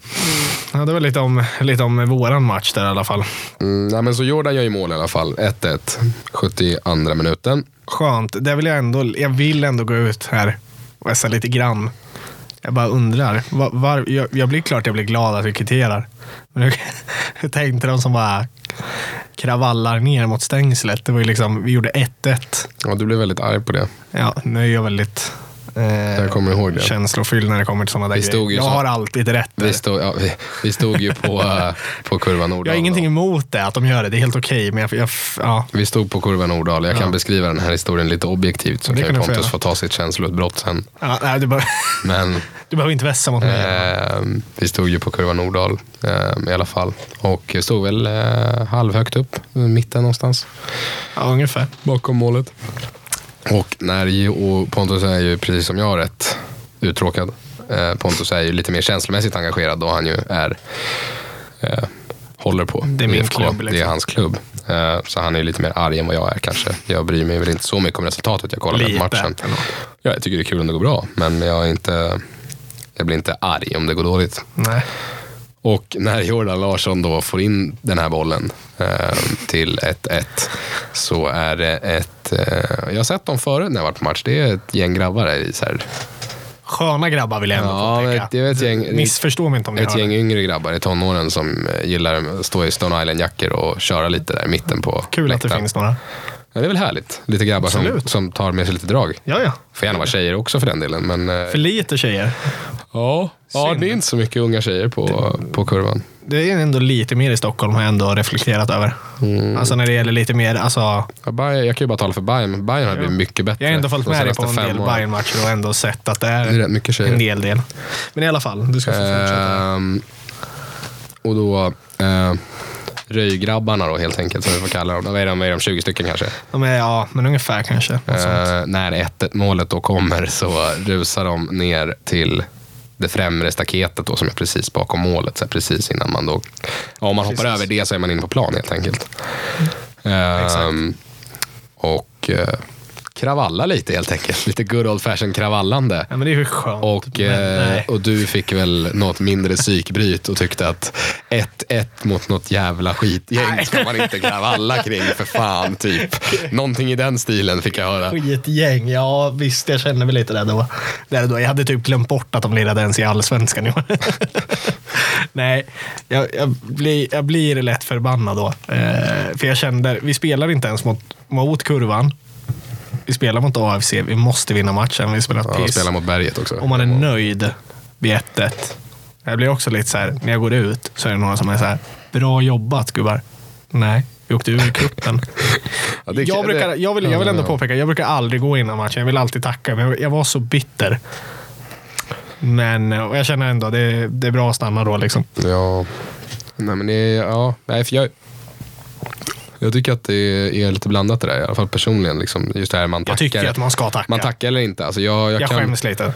S2: Ja, det var lite om, lite om våran match där i alla fall.
S1: mm, nej, men så Jordan gör ju mål i alla fall. 1-1. 72 minuten.
S2: Skönt. Det vill jag, ändå, jag vill ändå gå ut här och vässa lite grann. Jag bara undrar. Var, var, jag, jag blir klart jag blir glad att vi kvitterar. Men hur, [laughs] hur tänkte de som bara kravallar ner mot stängslet? Det var ju liksom, vi gjorde 1-1.
S1: Ja, du blev väldigt arg på det.
S2: Ja, nu är jag väldigt eh,
S1: Jag kommer ihåg det.
S2: känslofylld när det kommer till sådana där
S1: Vi stod
S2: grejer.
S1: ju
S2: Jag
S1: så-
S2: har alltid rätt. där.
S1: Vi stod, ja, vi, vi stod ju
S2: [laughs]
S1: på, eh, på kurvan Nordahl.
S2: Jag har ingenting emot det, att de gör det. Det är helt okej. men jag, jag, ja.
S1: Vi stod på kurvan Nordahl. Jag kan
S2: Ja.
S1: beskriva den här historien lite objektivt så
S2: Det
S1: kan
S2: kan
S1: ju
S2: du få
S1: Pontus
S2: göra.
S1: få ta sitt känsloutbrott sen.
S2: Ja, nej, du, behöver, [laughs]
S1: Men
S2: du behöver inte vässa mot mig.
S1: Ehm, vi stod ju på kurva Nordahl ehm, i alla fall. Och stod väl eh, halvhögt upp, i mitten någonstans.
S2: Ja, ungefär.
S1: Bakom målet. Och när ju, och Pontus är ju, precis som jag, rätt uttråkad. Eh, Pontus är ju lite mer känslomässigt engagerad då han ju är eh, håller på
S2: Det är min
S1: IFK.
S2: klubb, liksom.
S1: Det är hans klubb. Eh, så han är ju lite mer arg än vad jag är kanske. Jag bryr mig väl inte så mycket om resultatet. Jag kollar på
S2: Lite.
S1: matchen. Ja, jag tycker det är kul om det går bra, men jag, är inte, jag blir inte arg om det går dåligt.
S2: Nej.
S1: Och när Jordan Larsson då får in den här bollen eh, till 1-1 så är det ett... Eh, jag har sett dem förut när jag varit på match. Det är ett gäng grabbar här i så här,
S2: Sköna grabbar vill jag ändå
S1: Ja, men
S2: påpeka.
S1: det är ett gäng-
S2: Missförstå mig inte om ni
S1: ett
S2: hör
S1: gäng
S2: det.
S1: yngre grabbar i tonåren som eh, gillar att stå i Stone Island-jackor och köra lite där i mitten på
S2: Kul att det
S1: läktaren.
S2: finns några.
S1: Ja, det är väl härligt? Lite grabbar som,
S2: Absolut.
S1: som tar med sig lite drag.
S2: Ja, ja.
S1: Får gärna vara tjejer också för den delen. Men, eh,
S2: För lite tjejer.
S1: ja, ja,
S2: synd.
S1: det är inte så mycket unga tjejer på, på kurvan.
S2: Det är ändå lite mer i Stockholm har jag ändå reflekterat över.
S1: Mm.
S2: Alltså när det gäller lite mer, alltså.
S1: Ja, Bayern, jag kan ju bara tala för Bayern, men Bayern har blivit mycket bättre.
S2: Jag har ändå följt
S1: de
S2: med dig på
S1: senaste
S2: en
S1: fem
S2: del
S1: åren.
S2: Bayern-matcher och ändå sett att det är,
S1: Det är rätt mycket tjejer.
S2: en del del. Men i alla fall, du ska få fortsätta.
S1: Ehm, och då eh, röjgrabbarna då helt enkelt, som vi får kalla dem. Vad är de, vad är de 20 stycken kanske?
S2: De är, ja, men ungefär kanske. Något sånt.
S1: Eh, när 1 målet då kommer så rusar de ner till det främre staketet då som är precis bakom målet. Så här, precis innan man då... Ja, om man hoppar
S2: Precis. Mm.
S1: över det så är man inne på plan helt enkelt. Ehm,
S2: Exakt.
S1: och eh, kravalla lite helt enkelt. Lite good old fashion kravallande.
S2: Ja, men det är ju skönt.
S1: Och,
S2: men,
S1: eh,
S2: nej.
S1: och du fick väl något mindre psykbryt och tyckte att 1-1 mot något jävla skitgäng ska man inte kravalla kring för fan, typ. Någonting i den stilen fick jag höra.
S2: Skitgäng, ja visst jag känner väl lite det då. Där och då. Jag hade typ glömt bort att de lirade ens i allsvenskan i år. [laughs] Nej, jag, jag, blir, jag blir lätt förbannad då. Eh, för jag kände, vi spelar inte ens mot, mot kurvan. Vi spelar mot AFC, vi måste vinna matchen. Vi spelar
S1: Ja, de
S2: piss.
S1: spelar mot berget också.
S2: Om man är nöjd vid 1-1. Jag blir också lite så här, när jag går ut så är det några som är så här, bra jobbat gubbar. Nej, vi åkte
S1: [laughs]
S2: ur cupen.
S1: Ja, det-
S2: jag, brukar, jag, vill, jag vill ändå
S1: Ja,
S2: påpeka, jag brukar aldrig gå innan matchen. Jag vill alltid tacka, men jag- jag var så bitter. Men och jag känner ändå det, det är bra att stanna då. Liksom.
S1: Ja. Nej, men det, ja. Nej, för jag, jag tycker att det är lite blandat det där, i alla fall personligen. Liksom, just det här man
S2: Jag
S1: tackar.
S2: tycker att man ska tacka.
S1: man tackar eller inte. Alltså jag, jag,
S2: jag
S1: kan,
S2: skäms lite.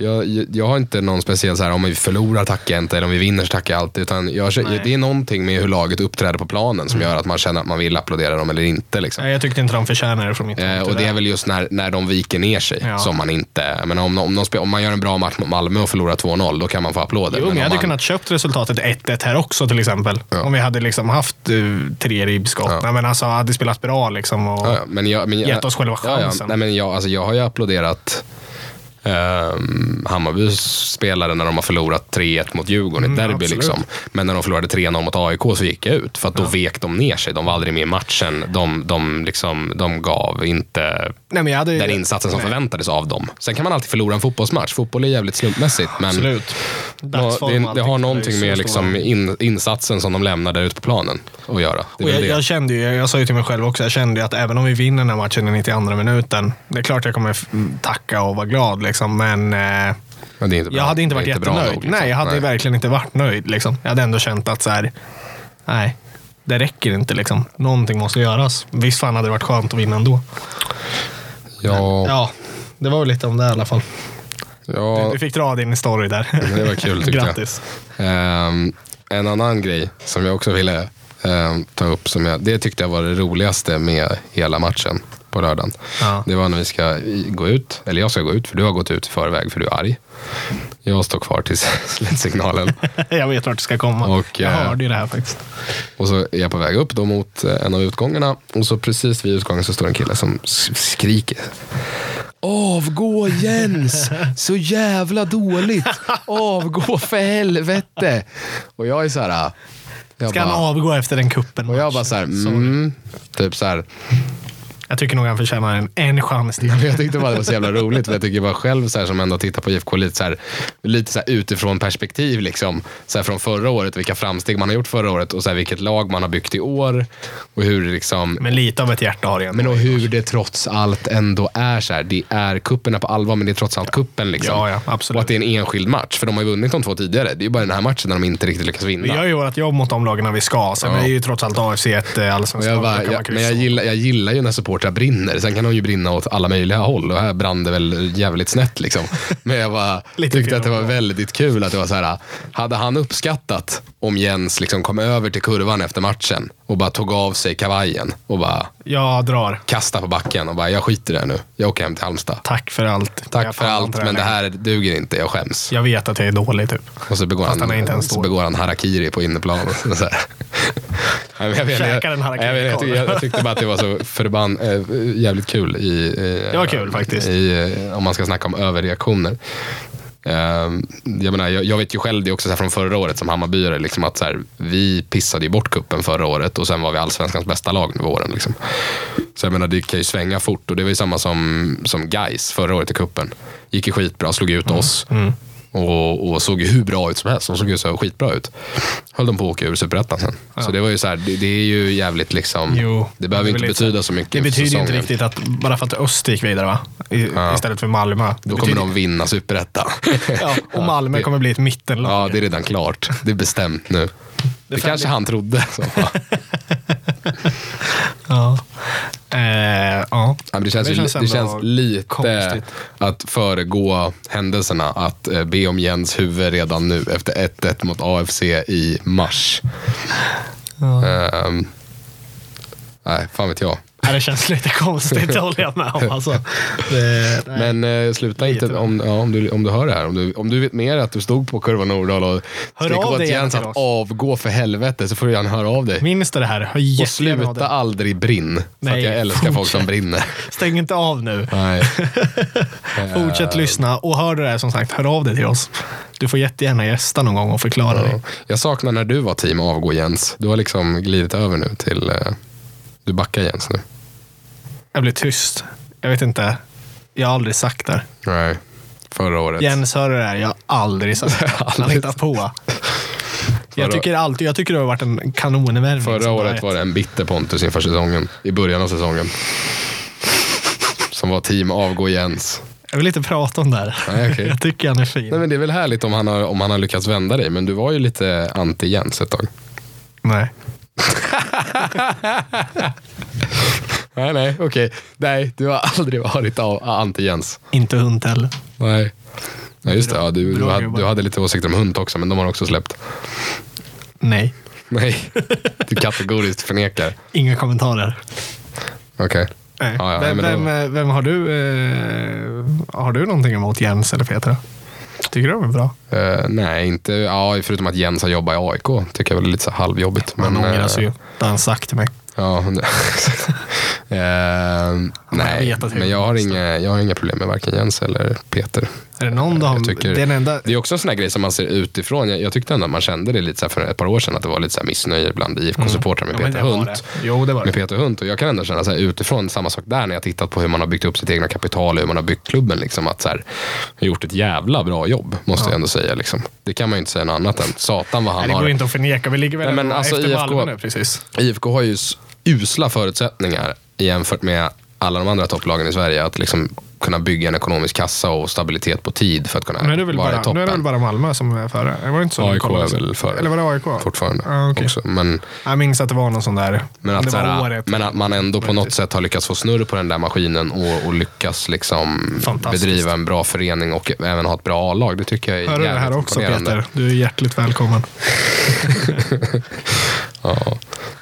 S1: Jag, jag- jag har inte någon speciell så här, om vi förlorar tackar jag inte, eller om vi vinner så tackar jag alltid. Utan jag,
S2: Nej. Mm.
S1: det är någonting med hur laget uppträder på planen som gör att man känner att man vill applådera dem eller inte. Liksom.
S2: Nej, jag tyckte inte de förtjänade det från mitt
S1: Eh,
S2: håll,
S1: och det
S2: tyvärr.
S1: är väl just när, när de viker ner sig
S2: Ja.
S1: som man inte... Men om, om, de spe, om man gör en bra match mot Malmö och förlorar 2-0, då kan man få applåder.
S2: Jo,
S1: men
S2: men
S1: om
S2: jag hade
S1: man,
S2: kunnat köpt resultatet 1-1 här också till exempel.
S1: Ja.
S2: Om vi hade liksom haft eh, tre ribbskott.
S1: Ja.
S2: Nej, men alltså, hade spelat bra liksom. Och,
S1: Ja, ja, men jag, men jag,
S2: Gett oss själva
S1: Ja, ja.
S2: chansen.
S1: Nej, men jag, alltså, jag har ju applåderat ehm, Hammarbys spelare när de har förlorat 3-1 mot Djurgården i
S2: Mm,
S1: derby.
S2: absolut.
S1: Liksom. Men när de förlorade 3-0 mot AIK så gick jag ut. För att då vek de ner sig. De var aldrig med i matchen. De, de, liksom, de gav inte
S2: Nej, men jag hade,
S1: den insatsen som
S2: Eh, Nej,
S1: förväntades av dem. Sen kan man alltid förlora en fotbollsmatch. Fotboll är jävligt slumpmässigt. Men
S2: Absolut.
S1: Ja,
S2: Dagsform
S1: det,
S2: och
S1: det
S2: allting.
S1: har
S2: Det är
S1: någonting
S2: ju så
S1: med
S2: stora-
S1: liksom in, insatsen som de lämnar där ute på planen att göra. Det är
S2: Och
S1: väl
S2: jag,
S1: det.
S2: jag kände ju, jag sa ju till mig själv också, jag kände ju att även om vi vinner den här matchen i 92 minuten, det är klart jag kommer f- tacka och vara glad, liksom, men eh,
S1: Men det är inte bra.
S2: jag hade inte
S1: Det är
S2: varit
S1: bra
S2: jättenöjd.
S1: nog, liksom.
S2: Nej, jag hade
S1: Nej.
S2: verkligen inte varit nöjd. Liksom. Jag hade ändå känt att så här, nej, det räcker inte. Liksom. Någonting måste göras. Visst fan hade det varit skönt att vinna ändå.
S1: Ja, ja.
S2: Ja, det var väl lite om det i alla fall. Du fick dra din story där.
S1: Det var kul tyckte jag.
S2: Grattis. [laughs]
S1: Ehm, en annan grej som jag också ville ehm, ta upp, som jag, det tyckte jag var det roligaste med hela matchen på lördagen.
S2: Ja.
S1: Det var när vi ska i- gå ut, eller jag ska gå ut, för du har gått ut i förväg för du är arg. Jag står kvar tills [laughs] slutsignalen.
S2: Jag vet vart du ska komma.
S1: Och,
S2: jag
S1: eh,
S2: hörde ju det här faktiskt.
S1: Och så är jag på väg upp då mot eh, en av utgångarna och så precis vid utgången så står en kille som s- skriker. Avgå Jens! Så jävla dåligt! Avgå för helvete! Och jag är så här... ah, Jag
S2: Ska han
S1: bara,
S2: avgå efter den kuppen?
S1: och jag bara så här, mm, typ så här.
S2: Jag tycker nog han förtjänar en, en chans till.
S1: Men Jag tyckte bara det var så jävla roligt, för jag tycker bara själv så här, som ändå tittar på IFK lite, så här, lite så här, utifrån perspektiv liksom, så här, från förra året, vilka framsteg man har gjort förra året och så här, vilket lag man har byggt i år och hur liksom,
S2: Men lite av ett hjärta har det ändå.
S1: Men och hur det trots allt ändå är så här. Det är kuppen är på allvar, men det är trots allt kuppen liksom.
S2: Ja, ja, absolut.
S1: Och att det är en enskild match, för de har ju vunnit de två tidigare. Det är ju bara den här matchen när de inte riktigt lyckas vinna.
S2: Vi gör ju vårt jobb mot de lagen vi ska. Sen
S1: Ja.
S2: är ju trots allt AFC ett eh,
S1: Och
S2: allsvenskt
S1: jag
S2: lag.
S1: bara,
S2: då kan
S1: jag, men
S2: man
S1: jag
S2: kryssa.
S1: gillar, jag gillar ju när supportrar brinner. Sen kan de ju brinna åt alla möjliga håll och här brann det väl jävligt snett.
S2: [laughs]
S1: Liksom. Men jag bara
S2: Lite
S1: tyckte att det
S2: kul.
S1: var väldigt kul att det var så här. Hade han uppskattat om Jens liksom kom över till kurvan efter matchen och bara tog av sig kavajen och bara
S2: Jag drar.
S1: kastade på backen och bara jag skiter i det här nu. Jag åker hem till Halmstad.
S2: Tack för allt.
S1: Tack
S2: Jag
S1: för
S2: fan
S1: allt,
S2: inte
S1: men det
S2: längre.
S1: här duger inte. Jag skäms.
S2: Jag vet att jag är dålig typ.
S1: Och så begår
S2: Fast han är inte
S1: han,
S2: ens
S1: så
S2: stor.
S1: begår han harakiri på
S2: [laughs]
S1: inneplan. Och så här. Nej, men jag, vet, jag,
S2: Käkar en harakiri
S1: jag, vet, jag, tyckte- jag tyckte bara att det var så förbann, eh, jävligt kul. I, eh,
S2: Det var kul, faktiskt.
S1: I, eh, om man ska snacka om överreaktioner. Eh, jag, menar, jag, jag vet ju själv det också så här från förra året som Hammarbyare. Liksom att så här, vi pissade ju bort kuppen förra året och sen var vi allsvenskans bästa lag nu våren. Liksom. Så jag menar, det kan ju svänga fort. Och det var ju samma som, som Gais förra året i kuppen Gick ju skitbra, slog ut
S2: Mm.
S1: oss. Och, och såg ju hur bra ut som helst. De såg ju så skitbra ut. Höll de på att åka ur superettan sen. Så det var ju så här, det, det är ju jävligt liksom.
S2: Jo,
S1: det behöver
S2: det är
S1: inte
S2: väl lite
S1: betyda så mycket
S2: Det
S1: för
S2: betyder ju inte
S1: säsongen.
S2: riktigt att bara för att Öst gick vidare va? I,
S1: Ja.
S2: Istället för Malmö. Det
S1: Då kommer
S2: betyder,
S1: de vinna superettan.
S2: [laughs] ja, och Malmö
S1: det-
S2: kommer bli ett mittenlag.
S1: ja, det är redan klart. Det är bestämt nu. Det,
S2: färdigt.
S1: kanske han
S2: [laughs]
S1: trodde. Så, ja.
S2: [laughs] Ja. Eh, ja.
S1: Ja, men det känns,
S2: Det
S1: ju-
S2: känns
S1: det
S2: ändå
S1: känns lite
S2: konstigt.
S1: att föregå händelserna. Att eh, be om Jens huvud redan nu efter 1-1 mot AFC i mars.
S2: Ja.
S1: Ehm, nej, fan vet jag.
S2: Ja, det känns lite konstigt, det håller jag med om. Alltså. Det, nej.
S1: Men eh, sluta
S2: Lite
S1: inte om, ja, om, du, om du hör det här. Om du, om du vet mer att du stod på kurvan Nordahl och skrek
S2: av
S1: åt
S2: dig gärna
S1: Jens
S2: till
S1: att
S2: oss.
S1: avgå för helvete så får du gärna höra av dig.
S2: Minns du det här? Hör jättegärna
S1: Och
S2: av
S1: sluta
S2: dig.
S1: aldrig brinn. För att
S2: Nej,
S1: jag älskar folk som
S2: fortsätt.
S1: brinner.
S2: Stäng inte av nu. [laughs]
S1: Nej. Eh,
S2: Fortsätt lyssna och hör du det här som sagt, hör av dig till oss. Du får jättegärna gästa någon gång och förklara dig.
S1: Jag saknar när du var team avgå Jens. Du har liksom glidit över nu till... eh, Du backar Jens nu.
S2: Jag blir tyst. Jag vet inte. Jag har aldrig sagt det. här.
S1: Nej, förra året.
S2: Jens, hör du det här? Jag har aldrig
S1: [laughs]
S2: sagt det. Han hittar på. Jag
S1: Förra-
S2: tycker, alltid, jag tycker det har varit en kanonvärvning.
S1: Förra
S2: som bara
S1: året
S2: ett-
S1: var det en bitter Pontus inför säsongen. I början av säsongen. Som var team avgå Jens.
S2: Jag vill inte prata om det här.
S1: Nej, okej.
S2: [laughs] Jag tycker han är fin.
S1: Nej, men det är väl härligt om han, har, om han har lyckats vända dig, men du var ju lite anti-Jens ett tag.
S2: Nej.
S1: Nej, nej, [laughs] okej. Nej, du har aldrig varit av- anti-Jens.
S2: Inte hund heller.
S1: Nej. Ja, just det. Ja, du, du,
S2: Bra
S1: hade,
S2: jobbat.
S1: du hade lite åsikter om hund också, men de har också släppt.
S2: Nej,
S1: Nej, [laughs] du kategoriskt förnekar.
S2: inga kommentarer.
S1: Okej.
S2: Nej.
S1: Ja, ja, nej,
S2: vem,
S1: men då-
S2: vem, eh, vem har du? Eh, har du någonting emot Jens eller Petra? Tycker du de är bra?
S1: Eh, nej, inte... Ja, förutom att Jens har jobbat i AIK. Tycker jag väl är lite så här halvjobbigt.
S2: Man
S1: men,
S2: ångrar
S1: eh,
S2: sig ju. Det har han sagt till mig.
S1: Ja, [laughs] hundra- exakt. Eh, nej,
S2: vet att
S1: men jag har, inga, jag har inga problem med varken Jens eller Peter.
S2: Är det någon du har...
S1: jag tycker-
S2: Det är den enda...
S1: Det är också en sån här grej som man ser utifrån. Jag, jag tyckte ändå att man kände det lite så här för ett par år sedan, att det var lite så här missnöje bland IFK-supportrar med
S2: Mm.
S1: Peter
S2: Ja, men det var
S1: Hunt.
S2: det. Jo, det var
S1: Med
S2: det.
S1: Peter Hunt. Och jag kan ändå känna så här, utifrån samma sak där, när jag tittat på hur man har byggt upp sitt egna kapital och hur man har byggt klubben. Liksom, att så här, gjort ett jävla bra jobb, måste jag ändå säga. Liksom. Det kan man ju inte säga något annat än. Satan vad han
S2: Nej, det
S1: har...
S2: går inte att förneka. Vi ligger väl
S1: Nej, men
S2: ändå
S1: alltså
S2: efter
S1: IFK
S2: Malmö nu precis.
S1: IFK har ju s- usla förutsättningar jämfört med alla de andra topplagen i Sverige att liksom kunna bygga en ekonomisk kassa och stabilitet på tid för att kunna
S2: Nu är, det väl
S1: vara i
S2: bara, nu är det väl
S1: toppen.
S2: bara Malmö som är före? Det var inte så
S1: AIK
S2: kollade.
S1: är väl före.
S2: Eller var det AIK?
S1: Fortfarande.
S2: Ja, Ah, okej.
S1: också. Men,
S2: Jag minns att det var någon sån där.
S1: men, att,
S2: det
S1: så
S2: var
S1: här,
S2: året.
S1: men att man ändå på något sätt har lyckats få snurr på den där maskinen och, och lyckas liksom
S2: Fantastiskt.
S1: bedriva en bra förening och även ha ett bra A-lag. Det tycker jag är
S2: Hör du det
S1: jävligt
S2: här också
S1: imponerande.
S2: Peter? Du är hjärtligt välkommen.
S1: Ja.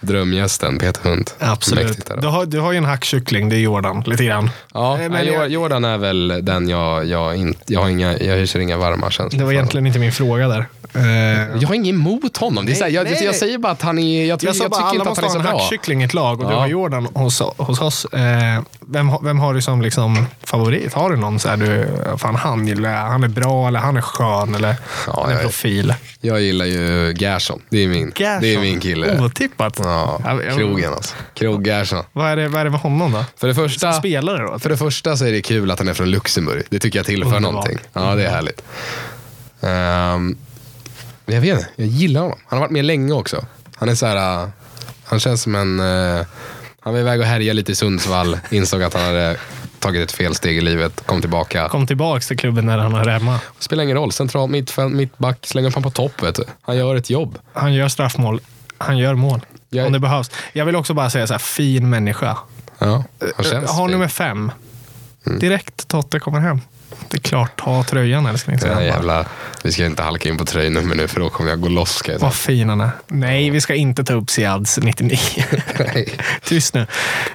S1: Drömgästen Peter Hunt. Mäktigt
S2: Absolut.
S1: där.
S2: Du har, du har ju en hackkyckling, det är Jordan, lite grann.
S1: Ja,
S2: Eh,
S1: nej,
S2: men jag,
S1: Jordan är väl den jag, jag, inte, jag, har inga, jag hyser inga varma känslor
S2: det var
S1: för.
S2: egentligen inte min fråga där. Eh,
S1: Jag har inget emot honom. det är så här, jag,
S2: nej,
S1: jag
S2: nej.
S1: säger bara att han är... Jag, tycker-
S2: jag sa
S1: jag
S2: bara,
S1: tycker
S2: alla
S1: inte att
S2: måste
S1: han är så
S2: ha en
S1: bra.
S2: hackkyckling i ett lag och du
S1: Ja.
S2: har Jordan hos, hos oss. Eh, vem, har- vem har du som liksom favorit? Har du någon så här, du, fan han gillar jag, han är bra eller han är skön eller
S1: Ja,
S2: han är
S1: jag-
S2: profil?
S1: Jag gillar ju Gerson. Det är min, Det är min kille.
S2: Oh, Otippat.
S1: Ja,
S2: Ja, jag-
S1: krogen alltså. Krog Gerson.
S2: Vad är det, vad är det med honom då?
S1: För det första...
S2: Spelare då?
S1: För det första så är det kul att han är från Luxemburg. Det tycker jag tillför
S2: Underbart.
S1: någonting. Ja, det är härligt. Ehm, men jag vet inte, jag gillar honom. Han har varit med länge också. Han är så här, äh, han känns som en... äh, han var iväg och härjade lite i Sundsvall, insåg att han hade tagit ett felsteg i livet, kom tillbaka.
S2: Kom tillbaks till klubben när han är hemma.
S1: Spelar ingen roll, central mittfält, mittback, slänger upp han på topp. Vet du. Han gör ett jobb.
S2: Han gör straffmål. Han gör mål.
S1: Jag-
S2: Om det behövs. Jag vill också bara säga så här, fin människa.
S1: Ja, han känns Mm.
S2: Har
S1: fin.
S2: nummer fem. Direkt Totte kommer hem. Det är klart, ta tröjan älskling. säger
S1: Den här
S2: han bara.
S1: jävla, vi ska inte halka in på tröjnummer nu för då kommer jag gå loss. Ska jag säga.
S2: Vad fin han är. Nej, vi ska inte ta upp Siads 99.
S1: Nej.
S2: [laughs] Tyst nu.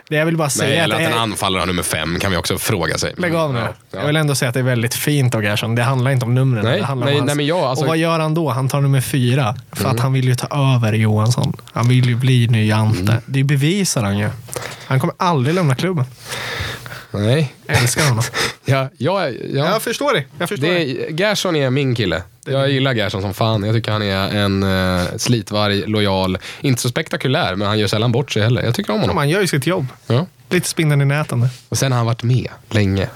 S2: Det jag vill bara
S1: Nej,
S2: säga
S1: eller att
S2: att
S1: en
S2: det är,
S1: anfallare har nummer fem kan vi också fråga sig.
S2: Lägg av nu.
S1: Ja, ja.
S2: Jag vill ändå säga att det är väldigt fint av Gerson. Det handlar inte om numren.
S1: Nej,
S2: det handlar
S1: nej,
S2: om hans-
S1: nej, men jag, alltså- Mm.
S2: Och vad gör han då? Han tar nummer fyra. För att han vill ju ta över Johansson. Han vill ju bli ny Ante.
S1: Mm.
S2: Det bevisar han ju. Han kommer aldrig lämna klubben.
S1: Nej.
S2: Jag älskar honom.
S1: Ja, ja, [laughs] ja.
S2: Jag förstår det. Jag förstår
S1: Det är, Gerson är min kille. Jag gillar Gerson som fan. Jag tycker han är en eh, slitvarg, lojal, inte så spektakulär, men han gör sällan bort sig heller. Jag tycker om
S2: Ja, men
S1: honom.
S2: Han gör ju sitt jobb.
S1: Ja.
S2: Lite spindeln i nätet. nu.
S1: Och sen har han varit med länge.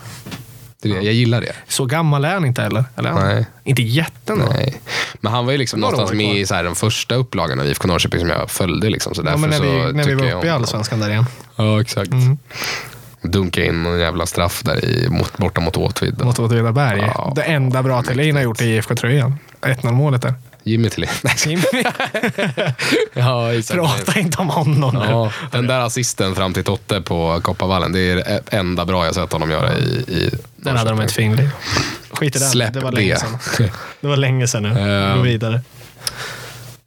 S1: Det är det. Jag gillar det.
S2: Så gammal är han inte heller. Eller? är han?
S1: Nej.
S2: Inte jätten då.
S1: Nej. Men han var ju liksom
S2: Några
S1: någonstans
S2: år kvar.
S1: med i så här, den första upplagan av IFK Norrköping som jag följde. Liksom, så därför
S2: Ja, men när
S1: så
S2: vi, när vi
S1: tycker
S2: var
S1: jag
S2: uppe i
S1: om
S2: Allsvenskan där igen.
S1: honom. Ja, exakt.
S2: Mm.
S1: Dunka in någon jävla straff där i, mot, borta mot Åtvid.
S2: Mot Åtvidaberg.
S1: Ja.
S2: Det enda bra Thelin har gjort i IFK-tröjan. 1-0 målet där.
S1: Jimmy Tillin. [laughs] Nej, ja, exakt.
S2: Prata inte om honom nu.
S1: Ja, den där assisten fram till Totte på Kopparvallen, det är det enda bra jag sett honom göra i, i
S2: Där hade de ett finlir. Skit i den.
S1: Släpp
S2: det.
S1: [laughs]
S2: Var länge
S1: det.
S2: sedan. Det var länge sedan nu.
S1: Ehm.
S2: Gå vidare.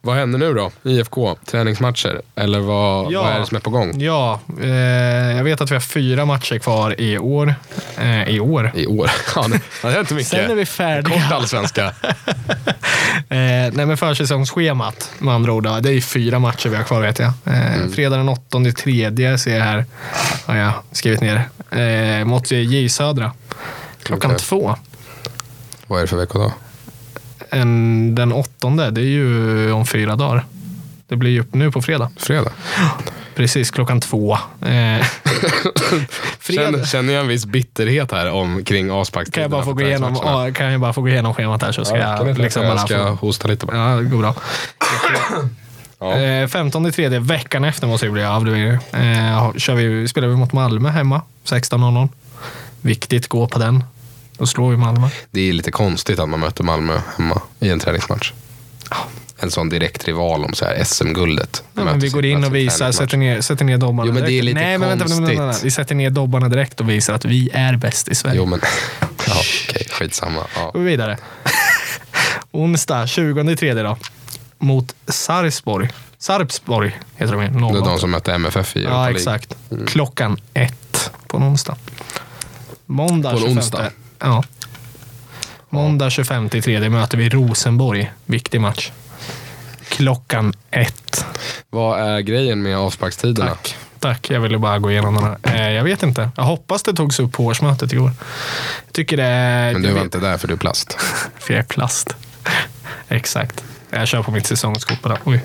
S1: vad händer nu då? IFK, träningsmatcher? Eller vad,
S2: Ja.
S1: vad är det som är på gång?
S2: Ja, eh, jag vet att vi har fyra matcher kvar i år. Eh, I år?
S1: I år? [laughs] Ja, det- ja, det är inte mycket.
S2: Sen är vi färdiga.
S1: Kort
S2: [laughs]
S1: allsvenska.
S2: Eh, nej men försäsongsschemat med andra ord. då. Det är ju fyra matcher vi har kvar vet jag. Eh,
S1: Mm.
S2: Fredag den 8 tredje ser jag här. Har jag skrivit ner. Eh, mot J Södra. Klockan
S1: Okej.
S2: två.
S1: Vad är det för veckodag?
S2: En, den åttonde, det är ju om fyra dagar. Det blir ju upp nu på fredag.
S1: Fredag?
S2: Precis, klockan två.
S1: [laughs]
S2: Eh, fredag.
S1: Känner, känner jag en viss bitterhet här om, kring avsparkstiden?
S2: Kan jag, bara få gå igenom, ja, kan jag bara få gå igenom schemat här så ska jag liksom bara
S1: jag ska
S2: få...
S1: hosta lite bara.
S2: Ja, det går bra.
S1: Ja.
S2: Eh, 15 tredje veckan efter måste det bli av. Det blir, det. eh, har- kör vi, spelar vi mot Malmö hemma 16.00. Viktigt, gå på den. Då slår vi Malmö.
S1: Det är lite konstigt att man möter Malmö hemma i en träningsmatch. En sån direkt rival om så här SM-guldet.
S2: Ja, men
S1: Möter sig
S2: vi går in
S1: plötsligt
S2: och
S1: i
S2: visar,
S1: träningsmatch.
S2: sätter ner, sätter ner dobbarna
S1: Jo, men det är
S2: direkt.
S1: lite
S2: nej, men vänta, vänta, vänta, vänta.
S1: konstigt.
S2: Vi sätter ner dobbarna direkt och visar att vi är bäst i Sverige.
S1: Jo, men... [laughs] Ja, okej. Skitsamma. Ja.
S2: Då går vi vidare. [laughs] Onsdag 20 tredje då. Mot Sarpsborg. Sarpsborg heter de ju.
S1: Det är
S2: Någon.
S1: de som mötte MFF i Europa
S2: Ja,
S1: League. Mm.
S2: exakt. Klockan ett på en onsdag. Måndag
S1: På en
S2: 25.
S1: onsdag?
S2: Ja. Måndag 25 till 3 möter vi Rosenborg. Viktig match. Klockan ett.
S1: Vad är grejen med avsparkstiderna?
S2: Tack. Tack, jag ville bara gå igenom den här. Eh, jag vet inte. Jag hoppas det togs upp på årsmötet igår. Jag tycker det är...
S1: Men du
S2: jag
S1: var
S2: vet-
S1: inte där för du är
S2: [laughs]
S1: plast.
S2: För jag är plast. [laughs] Exakt. Jag kör på mitt säsongskort bara. Oj.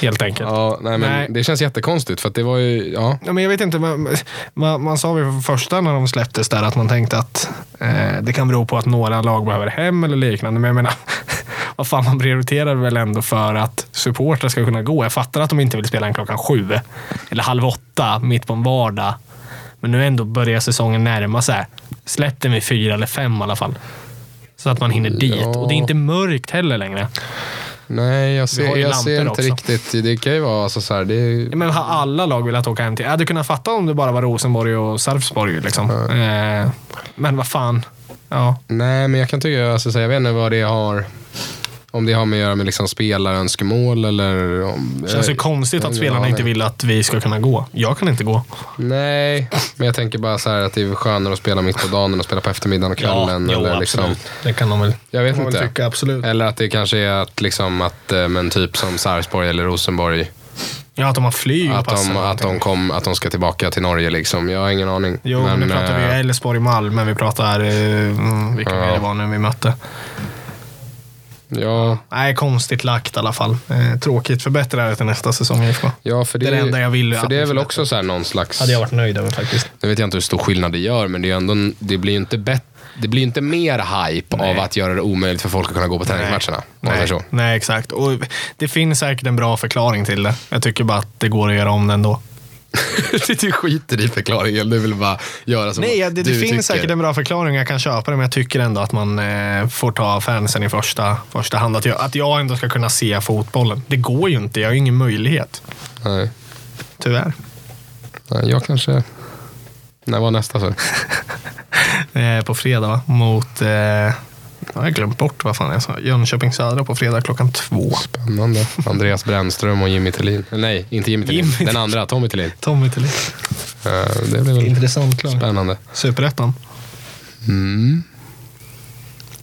S2: Helt enkelt.
S1: Ja, nej, men
S2: Nej.
S1: Det känns jättekonstigt för att det var ju, ja.
S2: Ja, men jag vet inte, man, man, man sa väl för första när de släpptes där att man tänkte att eh, det kan bero på att några lag behöver hem eller liknande. Men jag menar, [laughs] vad fan, man prioriterar väl ändå för att supportrar ska kunna gå. Jag fattar att de inte vill spela en klockan sju eller halv åtta mitt på en vardag. Men nu ändå börjar säsongen närma sig. Släpp den vid fyra eller fem i alla fall. Så att man hinner dit.
S1: Ja.
S2: Och det är inte mörkt heller längre.
S1: Nej, jag
S2: Vi har
S1: ser,
S2: ju
S1: jag ser inte
S2: lampor också.
S1: riktigt. Det kan ju vara alltså, så här, det är,
S2: Men har alla lag velat åka hem till? Jag hade kunnat fatta om det bara var Rosenborg och Sarpsborg. Liksom. Eh, men vad fan. Ja.
S1: Nej, men jag kan tycka, alltså, så här, jag vet inte vad det har, om det har med att göra med liksom, spelarönskemål eller om...
S2: Det känns ju
S1: eh, jag
S2: konstigt
S1: har ingen
S2: att spelarna
S1: aning.
S2: inte vill att vi ska kunna gå. Jag kan inte gå.
S1: Nej, men jag tänker bara så här att det är skönare att spela mitt på dagen än att spela på eftermiddagen och kvällen. eller, liksom,
S2: Det kan de väl,
S1: jag vet
S2: kan man väl
S1: inte. Eh,
S2: tycka, absolut.
S1: Eller att det kanske är att, liksom, att eh, men typ som Sarpsborg eller Rosenborg,
S2: Ja, att de har flyg och
S1: att
S2: pass
S1: de,
S2: eller
S1: att, de
S2: någonting.
S1: kom, att de ska tillbaka till Norge. Liksom. Jag har ingen aning.
S2: Jo, men, nu pratar vi
S1: eh,
S2: ju Elfsborg, Malmö, vi pratar eh, mm, vilka
S1: Ja.
S2: mer det var nu vi mötte.
S1: ja,
S2: Nej, konstigt lagt i alla fall. Eh, tråkigt. Förbättra det till nästa säsong IFK.
S1: ja, för det,
S2: Det är det enda jag vill
S1: För det
S2: att ni
S1: är väl
S2: förbättrar.
S1: också så här någon slags...
S2: Hade jag varit nöjd över faktiskt.
S1: Nu vet jag inte hur stor skillnad det gör, men det, är ju ändå, det blir ju inte bättre. Det blir ju inte mer hype
S2: Nej.
S1: av att göra det omöjligt för folk att kunna gå på träningsmatcherna. om man säger
S2: Nej, [laughs]
S1: så.
S2: nej, exakt. Och det finns säkert en bra förklaring till det. Jag tycker bara att det går att göra om den då.
S1: du skiter i förklaringen. Du vill bara göra som
S2: Nej, det, det
S1: du
S2: finns
S1: tycker.
S2: säkert en bra förklaring. Jag kan köpa det, men jag tycker ändå att man eh, får ta fansen i första, första hand. Att jag, att jag ändå ska kunna se fotbollen. Det går ju inte. Jag har ju ingen möjlighet.
S1: Nej,
S2: Tyvärr.
S1: nej, jag kanske... När var nästa? Så?
S2: Eh, på fredag va? mot... Eh, jag har glömt bort vad fan jag sa. Jönköping Södra på fredag klockan två.
S1: Spännande. Andreas Brännström och Jimmy Tillin. Nej, inte Jimmy Tillin.
S2: Jimmy
S1: Den andra, Tommy Tillin.
S2: Tommy Thulin.
S1: Eh, Det blir väl
S2: Intressant lag.
S1: spännande.
S2: Superettan.
S1: Mm.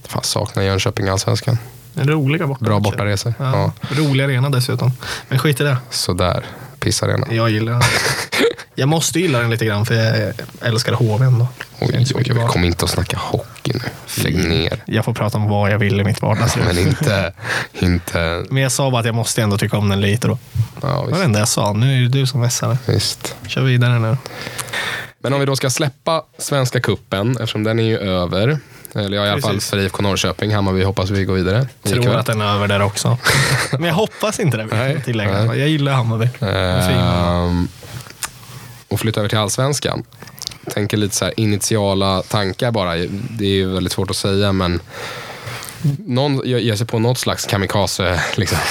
S1: Fan, saknar Jönköping allsvenskan.
S2: Roliga borta.
S1: Bra bortaresor.
S2: Ja.
S1: Ja.
S2: Rolig arena dessutom. Men skit i det.
S1: Sådär. Pissarena.
S2: Jag
S1: [laughs]
S2: gillar den. Jag måste gilla den lite grann för jag älskar HV ändå. Så det är
S1: Oj,
S2: inte så
S1: oj,
S2: mycket Mm.
S1: oj.
S2: val.
S1: Kom inte och snacka hockey nu. Lägg ner.
S2: Jag får prata om vad jag vill i mitt
S1: Men
S2: vardagsrum.
S1: inte... inte
S2: Men jag sa bara att jag måste ändå tycka om den lite då.
S1: ja,
S2: Det var det
S1: visst,
S2: enda jag sa. Nu är det du som vässar.
S1: visst.
S2: Kör vidare nu.
S1: Men om vi då ska släppa Svenska Kuppen eftersom den är ju över. Eller ja, i alla fall
S2: Precis.
S1: för IFK Norrköping. Hammarby hoppas vi går vidare.
S2: Tror
S1: Ikväll.
S2: att den är över
S1: [laughs]
S2: där också. Men jag hoppas inte det. vill
S1: Nej,
S2: jag tillägga.
S1: nej. Eh,
S2: Jag gillar Hammarby. Det är en fin man.
S1: Ehm, och flytta över till allsvenskan. Tänker lite så här initiala tankar bara. Det är ju väldigt svårt att säga, men någon jag ger sig på något slags kamikaze. Liksom. [laughs]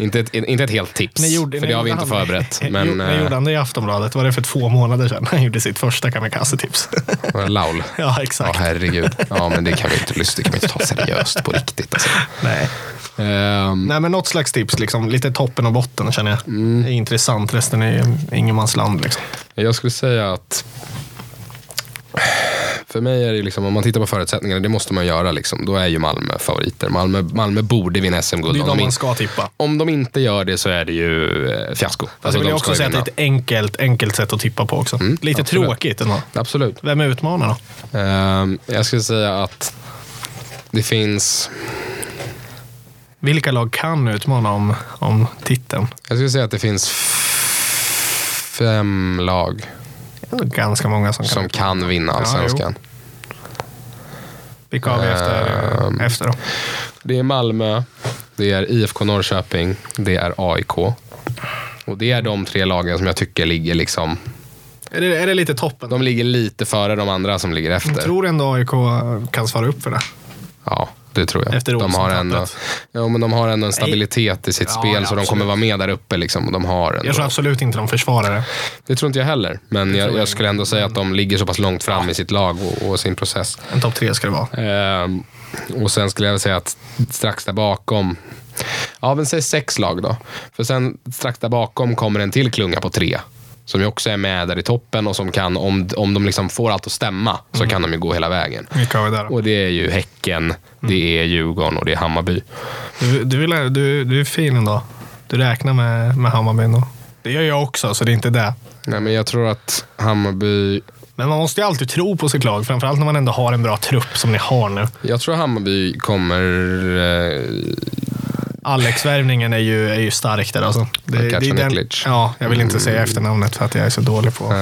S1: Inte, ett, inte ett helt tips,
S2: När gjorde-
S1: för
S2: när
S1: det har vi
S2: gjorde
S1: inte
S2: han-
S1: förberett.
S2: [laughs] Jo,
S1: Men eh.
S2: när gjorde han det i Aftonbladet? Var det för två månader sedan [laughs] han gjorde sitt första kamikaze-tips? [laughs]
S1: eh, Laul.
S2: ja,
S1: Ja,
S2: exakt.
S1: herregud. Ja, men det kan vi inte, lyssna- det kan vi inte ta seriöst på riktigt. Alltså.
S2: Nej.
S1: Ehm,
S2: Nej, men något slags tips. Liksom. Lite toppen och botten känner jag.
S1: Mm.
S2: Det är intressant. Resten är ingenmansland. Liksom.
S1: Jag skulle säga att för mig är det liksom, om man tittar på förutsättningarna, det måste man göra. Liksom, då är ju Malmö favoriter. Malmö, Malmö borde vinna
S2: Det
S1: SM-guld.
S2: är
S1: Om,
S2: de
S1: de
S2: man
S1: in-
S2: ska tippa. Fast
S1: om de inte gör det så är det ju eh, fiasko. Alltså,
S2: jag vill
S1: de
S2: jag
S1: ska
S2: också
S1: ju
S2: säga att det är
S1: vinna.
S2: ett enkelt, enkelt sätt att tippa på också. Lite
S1: absolut.
S2: tråkigt ändå.
S1: Absolut.
S2: Vem utmanar då?
S1: Ehm, jag skulle säga att det finns,
S2: Vilka lag kan utmana om, om titeln?
S1: jag skulle säga att det finns fem lag
S2: Ganska många som kan.
S1: som kan vinna allsvenskan.
S2: Vilka har vi efter,
S1: Ehm.
S2: efter då?
S1: Det är Malmö, det är IFK Norrköping, det är AIK. Och det är de tre lagen som jag tycker ligger liksom...
S2: Är det, är det lite toppen? Mm,
S1: De ligger lite före de andra som ligger efter.
S2: Jag tror ändå AIK kan svara upp för det.
S1: Ja, det tror jag.
S2: Efter
S1: de har ändå,
S2: Olsen-tappet.
S1: ja, men de har ändå en stabilitet i sitt
S2: Ja,
S1: spel,
S2: ja,
S1: så de
S2: absolut.
S1: kommer vara med där uppe. Liksom, och de har ändå-
S2: Jag tror absolut inte de försvarar det.
S1: Det tror inte jag heller, men jag,
S2: tror
S1: jag
S2: jag
S1: skulle ändå säga att de ligger så pass långt fram i sitt lag och, och sin process.
S2: En topp tre ska det vara.
S1: Ehm, och sen skulle jag väl säga att strax där bakom, ja men säg sex lag då. För sen strax där bakom kommer en till klunga på tre. Som ju också är med där i toppen och som kan, om, om de liksom får allt att stämma, så kan de ju gå hela vägen.
S2: Vilka har vi där? då?
S1: Och det är ju Häcken, det är Djurgården och det är Hammarby.
S2: Du, du, vill, du, du är fin ändå. Du räknar med, med Hammarby ändå. Det gör jag också, så det är inte det.
S1: Nej men jag tror att Hammarby,
S2: Men man måste ju alltid tro på sitt lag, framförallt när man ändå har en bra trupp som ni har nu.
S1: jag tror Hammarby kommer eh,
S2: Alex-värvningen är ju, är ju stark där alltså. Det,
S1: Lukac
S2: det
S1: och
S2: är den,
S1: Niklic.
S2: ja, jag vill inte säga efternamnet för att jag är så dålig på,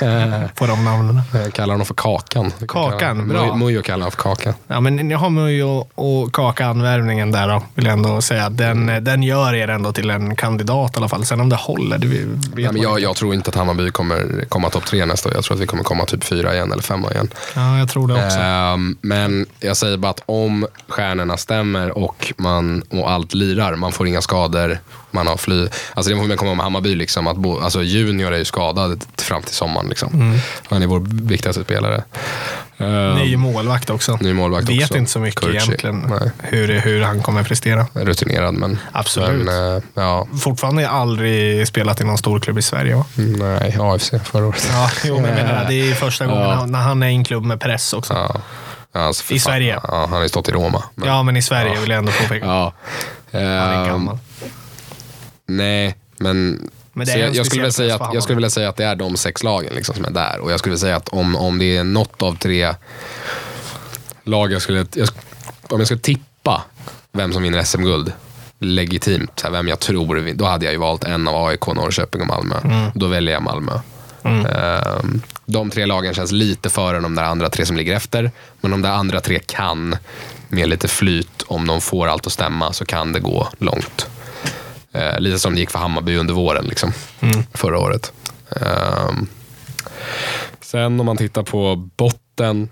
S1: Eh,
S2: på de namnen.
S1: [laughs] Jag kallar honom för Kakan.
S2: Kakan, bra.
S1: Mujo kallar han för Kakan.
S2: Ja, men ni har Mujo och Kaka-anvärvningen där då, vill jag ändå säga. Den, den gör er ändå till en kandidat i alla fall. Sen om det håller, det vet
S1: Nej, men
S2: man
S1: jag,
S2: inte.
S1: jag tror inte att Hammarby kommer komma topp tre nästa år. Jag tror att vi kommer komma typ fyra igen eller femma igen.
S2: Ja, jag tror det också.
S1: Ehm, men jag säger bara att om stjärnorna stämmer och, man, och allt lirar, man får inga skador, man har fly. Alltså det får man komma ihåg med Hammarby, liksom, att bo, alltså junior är ju skadad t- fram till sommaren. Liksom.
S2: Mm.
S1: Han är vår viktigaste spelare. Ehm,
S2: Ny målvakt också.
S1: ny målvakt
S2: Vet
S1: också.
S2: inte så mycket
S1: Kurci.
S2: egentligen
S1: Nej,
S2: hur, hur han kommer prestera.
S1: rutinerad, men...
S2: Absolut.
S1: Men, eh, ja,
S2: Fortfarande aldrig spelat i någon stor klubb i Sverige va? Eh,
S1: nej, AFC förra året.
S2: Ja, jo, men jag menar, det är första gången han- när han är i en klubb med press också. Ja,
S1: Ja. Alltså, för
S2: I Sverige.
S1: Ja, han har ju stått i Roma. men-
S2: men i Sverige vill jag ändå påpeka.
S1: Ja.
S2: Han är
S1: Ehm,
S2: gammal.
S1: nej, men...
S2: Men det
S1: så
S2: är en
S1: jag, jag, skulle
S2: speciell
S1: vilja säga
S2: press på
S1: att,
S2: Hammarby.
S1: jag skulle vilja säga att det är de sex lagen liksom som är där. Och jag skulle säga att om, om det är något av tre lag jag skulle... Jag, sk- om jag skulle tippa vem som vinner SM-guld legitimt, så här, vem jag tror, vin- då hade jag ju valt en av AIK, Norrköping och Malmö.
S2: Mm.
S1: Då väljer jag Malmö. Ehm, de tre lagen känns lite före de där andra tre som ligger efter. Men de där andra tre kan, med lite flyt, om de får allt att stämma, så kan det gå långt. Eh, lite som det gick för Hammarby under våren liksom, förra året. Ehm, sen om man tittar på botten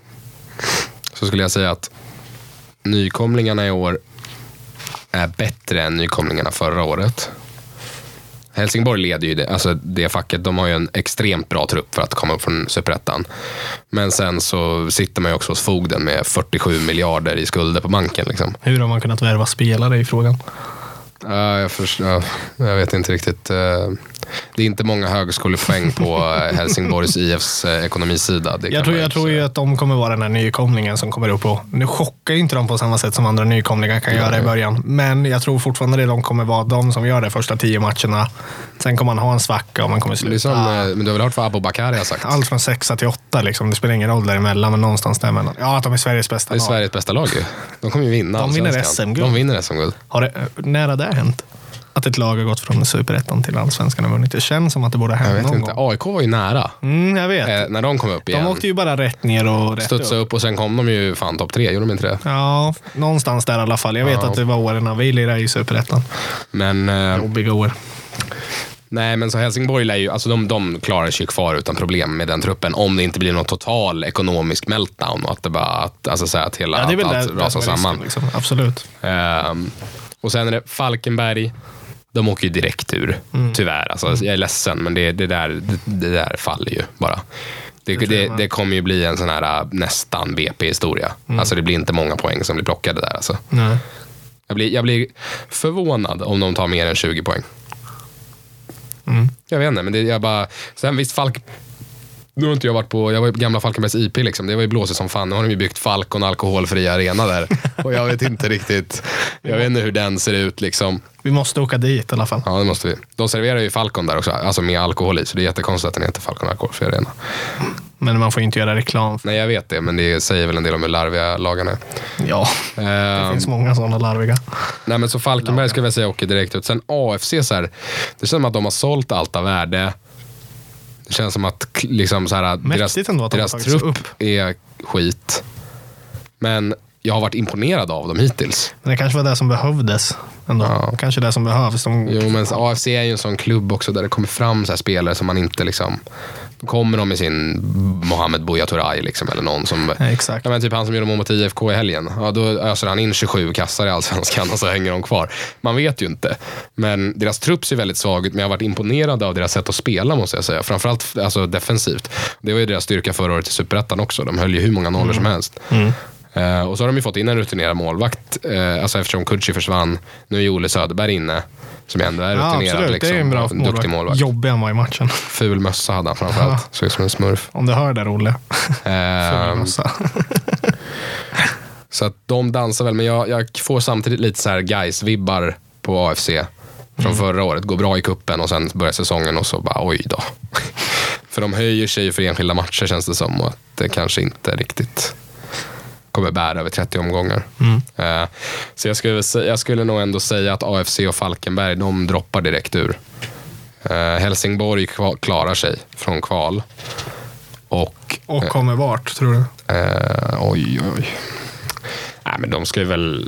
S1: så skulle jag säga att nykomlingarna i år är bättre än nykomlingarna förra året. Helsingborg leder ju det, alltså det facket. De har ju en extremt bra trupp för att komma upp från superettan. Men sen så sitter man ju också hos fogden med 47 miljarder i skulder på banken. Liksom.
S2: Hur har man kunnat värva spelare i frågan?
S1: Ja, jag, förs- ja, jag vet inte riktigt. eh, Det är inte många högskolepoäng på eh, Helsingborgs IFs eh, ekonomisida. Det kan
S2: Jag tror,
S1: man
S2: jag
S1: inte
S2: tror
S1: säga.
S2: ju att de kommer vara den här nykomlingen som kommer upp och... Nu chockar ju inte de på samma sätt som andra nykomlingar kan göra i början. Men jag tror fortfarande att de kommer vara de som gör de första tio matcherna. Sen kommer man ha en svacka och man kommer
S1: Det är som,
S2: sluta.
S1: eh, Men du har väl hört vad Abubakari har sagt?
S2: Allt från sexa till åtta, liksom. det spelar ingen roll däremellan, men någonstans däremellan. Ja, att de är Sveriges bästa
S1: Det är
S2: lag.
S1: Sveriges bästa lag ju. De kommer ju vinna
S2: De vinner
S1: allsvenskan.
S2: SM-guld.
S1: De vinner SM-guld.
S2: Har det, nära det hänt? Att ett lag har gått från superettan till allsvenskan och vunnit? Det känns som att det borde ha
S1: Jag
S2: hänt
S1: vet
S2: någon
S1: inte.
S2: gång.
S1: AIK var ju nära
S2: Mm, jag vet.
S1: eh, när de kom upp igen.
S2: De åkte ju bara rätt ner och rätt upp.
S1: Studsade upp och sen kom de ju fan topp tre, gjorde de inte det?
S2: Ja, någonstans där i alla fall. Jag vet
S1: Ja.
S2: att det var åren när vi lirade i superettan.
S1: Men, eh,
S2: Jobbiga år.
S1: nej, men så Helsingborg lär ju, alltså de, de klarar sig ju kvar utan problem med den truppen om det inte blir någon total ekonomisk meltdown och att det bara, att, alltså, så här, att hela
S2: Ja, det är väl
S1: allt,
S2: där,
S1: allt
S2: där
S1: rasar
S2: som är
S1: samman.
S2: risken, Liksom. Absolut.
S1: Ehm, och sen är det Falkenberg. De åker ju direkt ur,
S2: Mm.
S1: tyvärr. Alltså, jag är ledsen, men det, det, där, det, det där faller ju bara. Det, det,
S2: tror
S1: det,
S2: jag med.
S1: kommer ju bli en sån här äh, nästan BP-historia.
S2: Mm.
S1: Alltså det blir inte många poäng som blir plockade där. Alltså.
S2: Nej.
S1: Jag, blir, jag blir förvånad om de tar mer än 20 poäng.
S2: Mm.
S1: Jag vet inte, men det, jag bara... Sen visst, Falk... Nu har inte jag varit på, jag var ju på gamla Falkenbergs IP liksom. Det var ju blåsigt som fan. Nu har de ju byggt Falcon alkoholfri arena där. Och jag vet inte riktigt. Jag vet inte hur den ser ut liksom.
S2: Vi måste åka dit i alla fall.
S1: Ja, det måste vi. De serverar ju Falcon där också, alltså med alkohol i. Så det är jättekonstigt att den heter Falcon alkoholfri arena.
S2: Men man får ju inte göra reklam.
S1: Nej, jag vet det, men det säger väl en del om hur larviga lagarna är.
S2: Ja, det
S1: Ehm,
S2: finns många sådana larviga.
S1: Nej, men så Falkenberg skulle jag säga åker direkt ut. Sen AFC, så här, det känns som att de har sålt allt av värde. Det känns som att k- liksom, så här,
S2: Mäktigt
S1: deras,
S2: ändå att de
S1: deras
S2: har tagit sig
S1: trupp är skit. Men jag har varit imponerad av dem hittills.
S2: Men det kanske var det som behövdes. ändå.
S1: Ja.
S2: Kanske det som behövs. De,
S1: Jo, men AFC är ju en sån klubb också där det kommer fram så här spelare som man inte liksom... Då kommer de med sin Mohamed Buya Turay liksom, eller någon som...
S2: Nej, Exakt.
S1: Ja, men typ han som gjorde mål mot IFK i helgen. Ja, då öser han in 27 kassar i allsvenskan och så hänger de kvar. Man vet ju inte. Men deras trupp ser väldigt svag ut, men jag har varit imponerad av deras sätt att spela måste jag säga. Framförallt alltså, defensivt. Det var ju deras styrka förra året i Superettan också. De höll ju hur många nollor
S2: Mm.
S1: som helst. Eh, och så har de ju fått in en rutinerad målvakt, eh, alltså eftersom Kutji försvann. Nu är ju Ole Söderberg inne, som ändå är
S2: Ja,
S1: rutinerad.
S2: absolut.
S1: liksom.
S2: det är en bra
S1: Duktig målvakt.
S2: Jobbig han var i matchen. [laughs]
S1: Ful mössa hade han framförallt.
S2: Ja.
S1: Såg ut som en smurf.
S2: Om du hör det, [laughs] Alltså, Olle.
S1: Eh, Så att de dansar väl, men jag, jag får samtidigt lite så här guys vibbar på AFC från förra året. Går bra i kuppen och sen börjar säsongen och så bara oj då. [laughs] för de höjer sig ju för enskilda matcher känns det som och att det kanske inte riktigt kommer bära över 30 omgångar. Eh, så jag skulle, väl sä- jag skulle nog ändå säga att AFC och Falkenberg, de droppar direkt ur. Eh, Helsingborg kva- klarar sig från kval. Och
S2: Och kommer vart, tror du?
S1: Eh, oj, oj, oj. Nej, men de ska ju väl...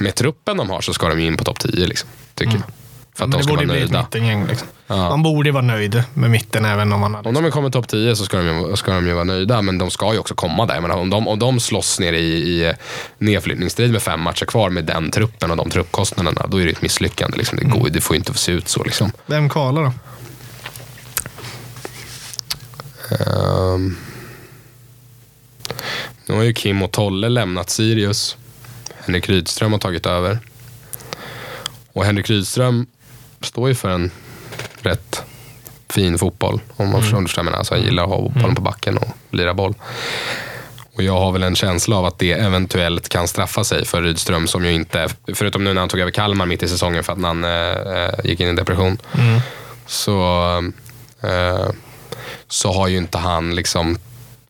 S1: Med truppen de har så ska de ju in på topp 10, liksom, tycker jag. För
S2: Mm. Ja,
S1: att
S2: men
S1: de ska
S2: det borde
S1: vara
S2: ju bli ett
S1: nöjda.
S2: mittengäng. Liksom.
S1: Ja.
S2: Man borde ju vara nöjd med mitten även om man hade...
S1: Om de kommer topp 10 så ska de, ju, ska de ju vara nöjda, men de ska ju också komma där. Jag menar, om, de, om de slåss ner i, i eh, nedflyttningsstrid med fem matcher kvar med den truppen och de truppkostnaderna, då är det ju ett misslyckande. Liksom. Det, går, ju- det får ju inte se ut så. Liksom.
S2: Vem kvalar då?
S1: Ehm. nu har ju Kim och Tolle lämnat Sirius. Henrik Rydström har tagit över. Och Henrik Rydström står ju för en rätt fin fotboll. Om man förstår vad jag menar. Alltså, han gillar att ha bollen på backen och lira boll. Och jag har väl en känsla av att det eventuellt kan straffa sig för Rydström som ju inte, förutom nu när han tog över Kalmar mitt i säsongen för att Nanne eh, gick in i depression, så, eh, så har ju inte han liksom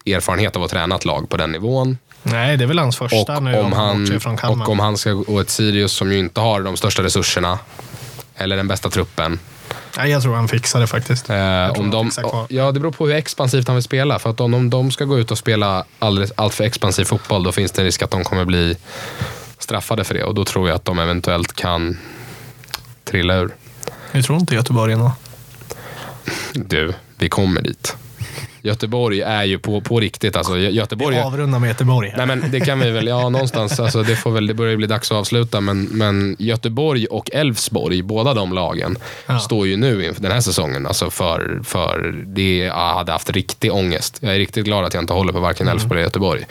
S1: erfarenhet av att träna ett lag på den nivån.
S2: Nej, det är väl hans
S1: Och
S2: första nu
S1: om, han,
S2: bortser från Kalmar.
S1: och om han ska gå ett Sirius som ju inte har de största resurserna eller den bästa truppen.
S2: Nej, jag tror han fixar det faktiskt.
S1: Eh,
S2: tror
S1: om
S2: han
S1: de,
S2: fixar kvar.
S1: ja, det beror på hur expansivt han vill spela. För att om, om de ska gå ut och spela alldeles, allt för expansiv fotboll, då finns det en risk att de kommer bli straffade för det. Och då tror jag att de eventuellt kan trilla ur.
S2: Jag tror inte Göteborg ändå.
S1: Du, vi kommer dit. Göteborg är ju på, på riktigt. Alltså, Gö- Göteborg...
S2: Avrunda med Göteborg. här.
S1: Nej men det kan vi väl, ja någonstans, alltså, det, får väl, det börjar ju bli dags att avsluta. Men, men Göteborg och Elfsborg, båda de lagen,
S2: Ja.
S1: står ju nu inför den här säsongen. Alltså för, för det, jag hade haft riktig ångest. Jag är riktigt glad att jag inte håller på varken Elfsborg eller Göteborg.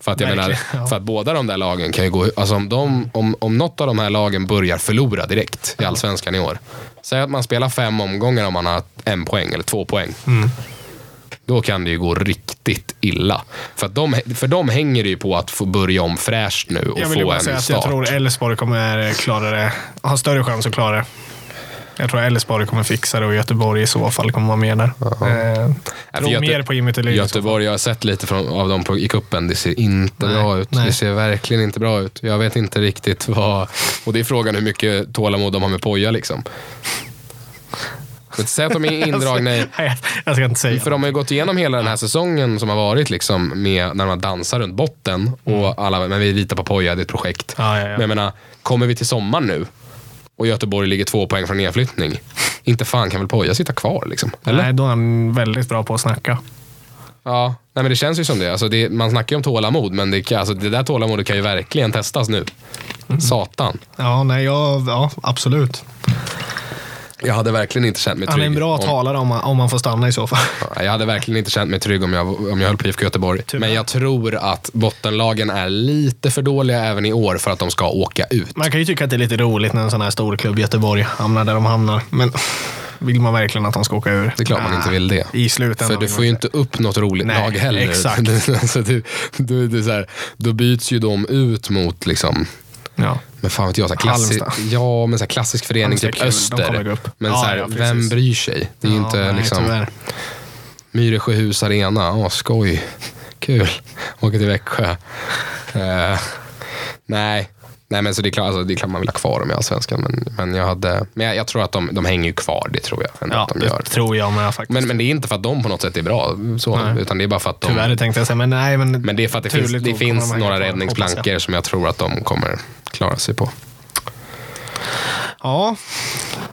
S1: För att, jag menar,
S2: Mm. Verkligen, ja.
S1: för att båda de där lagen kan ju gå, alltså om, de, om, om något av de här lagen börjar förlora direkt i Allsvenskan i år. Säg att man spelar fem omgångar om man har en poäng eller två poäng då kan det ju gå riktigt illa. För, att de, för de hänger det ju på att få börja om fräscht nu och
S2: jag vill ju
S1: få
S2: bara
S1: en
S2: säga
S1: start.
S2: att jag tror Elfsborg kommer eh, klara det. Har större chans att klara det. Jag tror Elfsborg kommer fixa det och Göteborg i så fall kommer vara med där. Eh,
S1: för
S2: tror
S1: Göte-
S2: mer på Jimmy Thulin. i så fall.
S1: Göteborg, jag har sett lite från, av dem på, i kuppen. Det ser inte
S2: Nej,
S1: bra ut.
S2: nej.
S1: Det ser verkligen inte bra ut. Jag vet inte riktigt vad... Och det är frågan hur mycket tålamod de har med Poja liksom. Men Säg att de
S2: [laughs]
S1: är indragna i...
S2: Nej, jag ska inte säga.
S1: För de har ju gått igenom hela den här säsongen som har varit liksom med när man dansar runt botten
S2: Mm.
S1: och alla, men vi litar på Poja, det är ett projekt.
S2: Ja, ja, ja.
S1: Men jag menar, kommer vi till sommaren nu och Göteborg ligger två poäng från nedflyttning, inte fan kan väl Poja sitta kvar liksom? Eller?
S2: Nej, då är han väldigt bra på att snacka.
S1: Ja, nej men det känns ju som det. Alltså det man snackar ju om tålamod, men det, kan- alltså det där tålamodet kan ju verkligen testas nu. Satan.
S2: Ja, nej, jag, ja absolut.
S1: Jag hade verkligen inte känt mig trygg.
S2: Han är en bra
S1: om-
S2: talare om, man- om man får stanna i så fall.
S1: Ja, Jag hade verkligen inte känt mig trygg om jag, om jag höll på IFK Göteborg.
S2: Tyvärr.
S1: Men jag tror att bottenlagen är lite för dåliga även i år för att de ska åka ut.
S2: Man kan ju tycka att det är lite roligt när en sån här stor klubb, Göteborg, hamnar där de hamnar. Men vill man verkligen att de ska åka ur?
S1: Det är klart man
S2: Nej.
S1: inte vill det.
S2: I slutändan.
S1: För du
S2: vill
S1: får ju
S2: man
S1: inte upp något roligt
S2: Nej,
S1: lag heller.
S2: exakt.
S1: [laughs] alltså, du, du, det är så här, då byts ju de ut mot, liksom,
S2: Ja.
S1: men fan vet jag, så här klassi-
S2: Halmstad.
S1: [laughs] ja, men så här klassisk förening,
S2: Halmstad är
S1: typ
S2: kul, de kommer
S1: Öster.
S2: gå upp.
S1: Men
S2: Ja,
S1: så här,
S2: ja, precis.
S1: vem bryr sig? Det är ju
S2: Ja,
S1: inte
S2: nej,
S1: liksom...
S2: tyvärr.
S1: Myresjöhus arena, åh skoj. Kul. Åka till Växjö. Eh, nej. nej, men så det är, klart, alltså, det är klart man vill ha kvar dem i Allsvenskan. Men, men, jag, hade, men jag, jag tror att de, de hänger ju kvar, det tror jag ändå
S2: Ja,
S1: att de
S2: det
S1: gör.
S2: tror jag med faktiskt.
S1: Men, men det är inte för att de på något sätt är bra, så,
S2: Nej.
S1: utan det är bara för att de...
S2: Tyvärr tänkte jag säga, men nej. Men,
S1: Men det är för att det
S2: turligt
S1: finns, det
S2: nog kommer
S1: finns
S2: de hänga
S1: några
S2: kvar, hoppas jag.
S1: räddningsplankor som jag tror att de kommer klara sig på.
S2: Ja,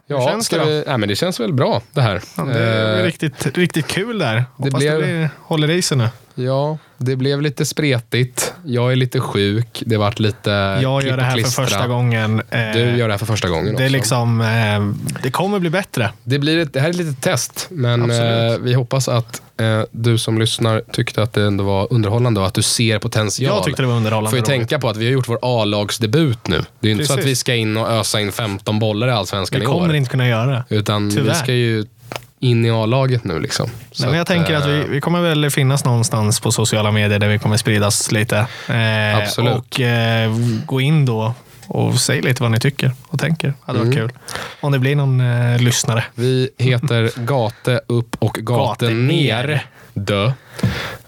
S1: Ja,
S2: känns
S1: ska
S2: det då?
S1: vi... Nej, men det känns väl bra det här.
S2: fan, det är
S1: Eh,
S2: riktigt, riktigt kul där. Hoppas det,
S1: blev- Eh,
S2: blir, håller i sig nu.
S1: Ja, det blev lite spretigt. Jag är lite sjuk. Det vart lite
S2: Jag gör det här för
S1: klipp och
S2: första
S1: klistra.
S2: gången. eh,
S1: Du gör det här för första gången
S2: det, är
S1: också.
S2: liksom, eh, det kommer bli bättre.
S1: Det, blir ett, det här är ett litet test, men
S2: Absolut.
S1: eh, vi hoppas att eh, du som lyssnar tyckte att det ändå var underhållande och att du ser potential.
S2: Jag tyckte det var underhållande.
S1: Får ju
S2: roligt.
S1: tänka på att vi har gjort vår A-lagsdebut nu. Det är ju inte så att
S2: Precis.
S1: vi ska in och ösa in 15 bollar i Allsvenskan
S2: Vi
S1: i
S2: kommer
S1: år.
S2: inte kunna göra det.
S1: Utan vi
S2: Tyvärr.
S1: ska ju in i A-laget nu. Liksom. Så
S2: Nej, men jag tänker att vi,
S1: eh,
S2: vi kommer väl finnas någonstans på sociala medier där vi kommer spridas lite. Eh,
S1: Absolut.
S2: Och eh, gå in då och säg lite vad ni tycker och tänker. Hade varit
S1: Mm.
S2: kul. Om det blir någon eh, lyssnare.
S1: Vi heter Gate upp och Gate
S2: Gate
S1: ner.
S2: ner.
S1: Dö.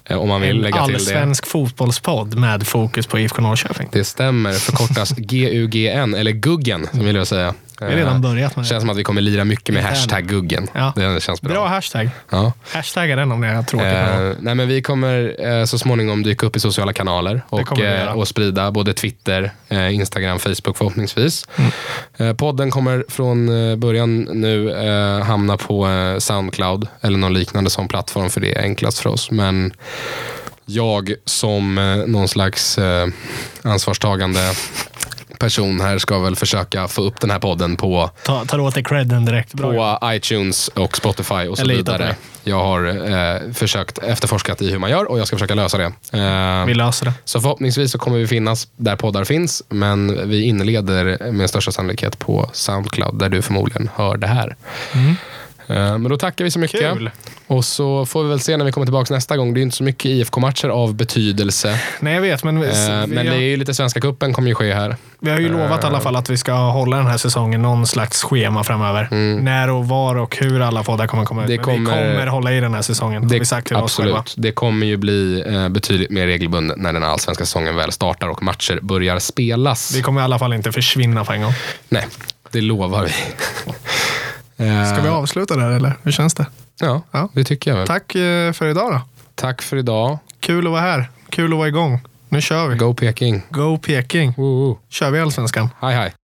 S1: Eh, Om man vill
S2: En
S1: lägga till det.
S2: allsvensk fotbollspodd med fokus på IFK Norrköping.
S1: Det stämmer. Förkortas
S2: [laughs]
S1: GUGN, eller Guggen som vi vill jag säga. Eh,
S2: Vi har redan börjat med
S1: Känns
S2: det.
S1: som att vi kommer lira mycket med
S2: Intern.
S1: hashtag Guggen.
S2: Ja.
S1: Det känns bra.
S2: Bra hashtag.
S1: Ja.
S2: Hashtagga den om ni har tråkigt. Eh,
S1: Eh, nej men vi kommer eh, så småningom dyka upp i sociala kanaler och,
S2: kommer vi
S1: eh,
S2: göra.
S1: och sprida både Twitter, eh, Instagram, Facebook förhoppningsvis.
S2: Mm.
S1: Eh, podden kommer från eh, början nu eh, hamna på eh, Soundcloud eller någon liknande som plattform för det är enklast för oss. Men jag som eh, någon slags eh, ansvarstagande person här ska väl försöka få upp den här podden på
S2: Ta, tar åt dig credden direkt. Bra. jobbat.
S1: på iTunes och Spotify och så
S2: Jag litar på
S1: vidare.
S2: dig.
S1: Jag har eh, försökt efterforskat i hur man gör och jag ska försöka lösa det. Eh,
S2: Vi löser det.
S1: så förhoppningsvis så kommer vi finnas där poddar finns, men vi inleder med största sannolikhet på Soundcloud där du förmodligen hör det här. Eh, Men då tackar vi så mycket.
S2: Mm. Kul.
S1: Och så får vi väl se när vi kommer tillbaka nästa gång. Det är ju inte så mycket IFK-matcher av betydelse.
S2: Nej, jag vet, men, vi,
S1: Eh,
S2: vi,
S1: Men det är
S2: har,
S1: ju lite Svenska Cupen kommer ju ske här.
S2: vi har ju lovat i alla fall att vi ska hålla den här säsongen någon slags schema framöver. När och var och hur alla poddar kommer komma ut.
S1: Mm. Det
S2: Men vi
S1: kommer-
S2: kommer hålla i den här säsongen. har vi sagt till oss själva.
S1: absolut. Det kommer ju bli eh, betydligt mer regelbundet när den allsvenska säsongen väl startar och matcher börjar spelas.
S2: Vi kommer i alla fall inte försvinna på en gång.
S1: Nej, det lovar vi.
S2: Ska vi avsluta där eller? Hur känns det?
S1: Eh, Ja,
S2: Ja.
S1: det tycker jag väl. Tack,
S2: Tack eh, för idag då.
S1: för idag.
S2: Kul att vara här. Kul att vara igång. Nu kör vi.
S1: Go Peking.
S2: Go Peking.
S1: Woo.
S2: Kör vi allsvenskan?
S1: Hej, hej.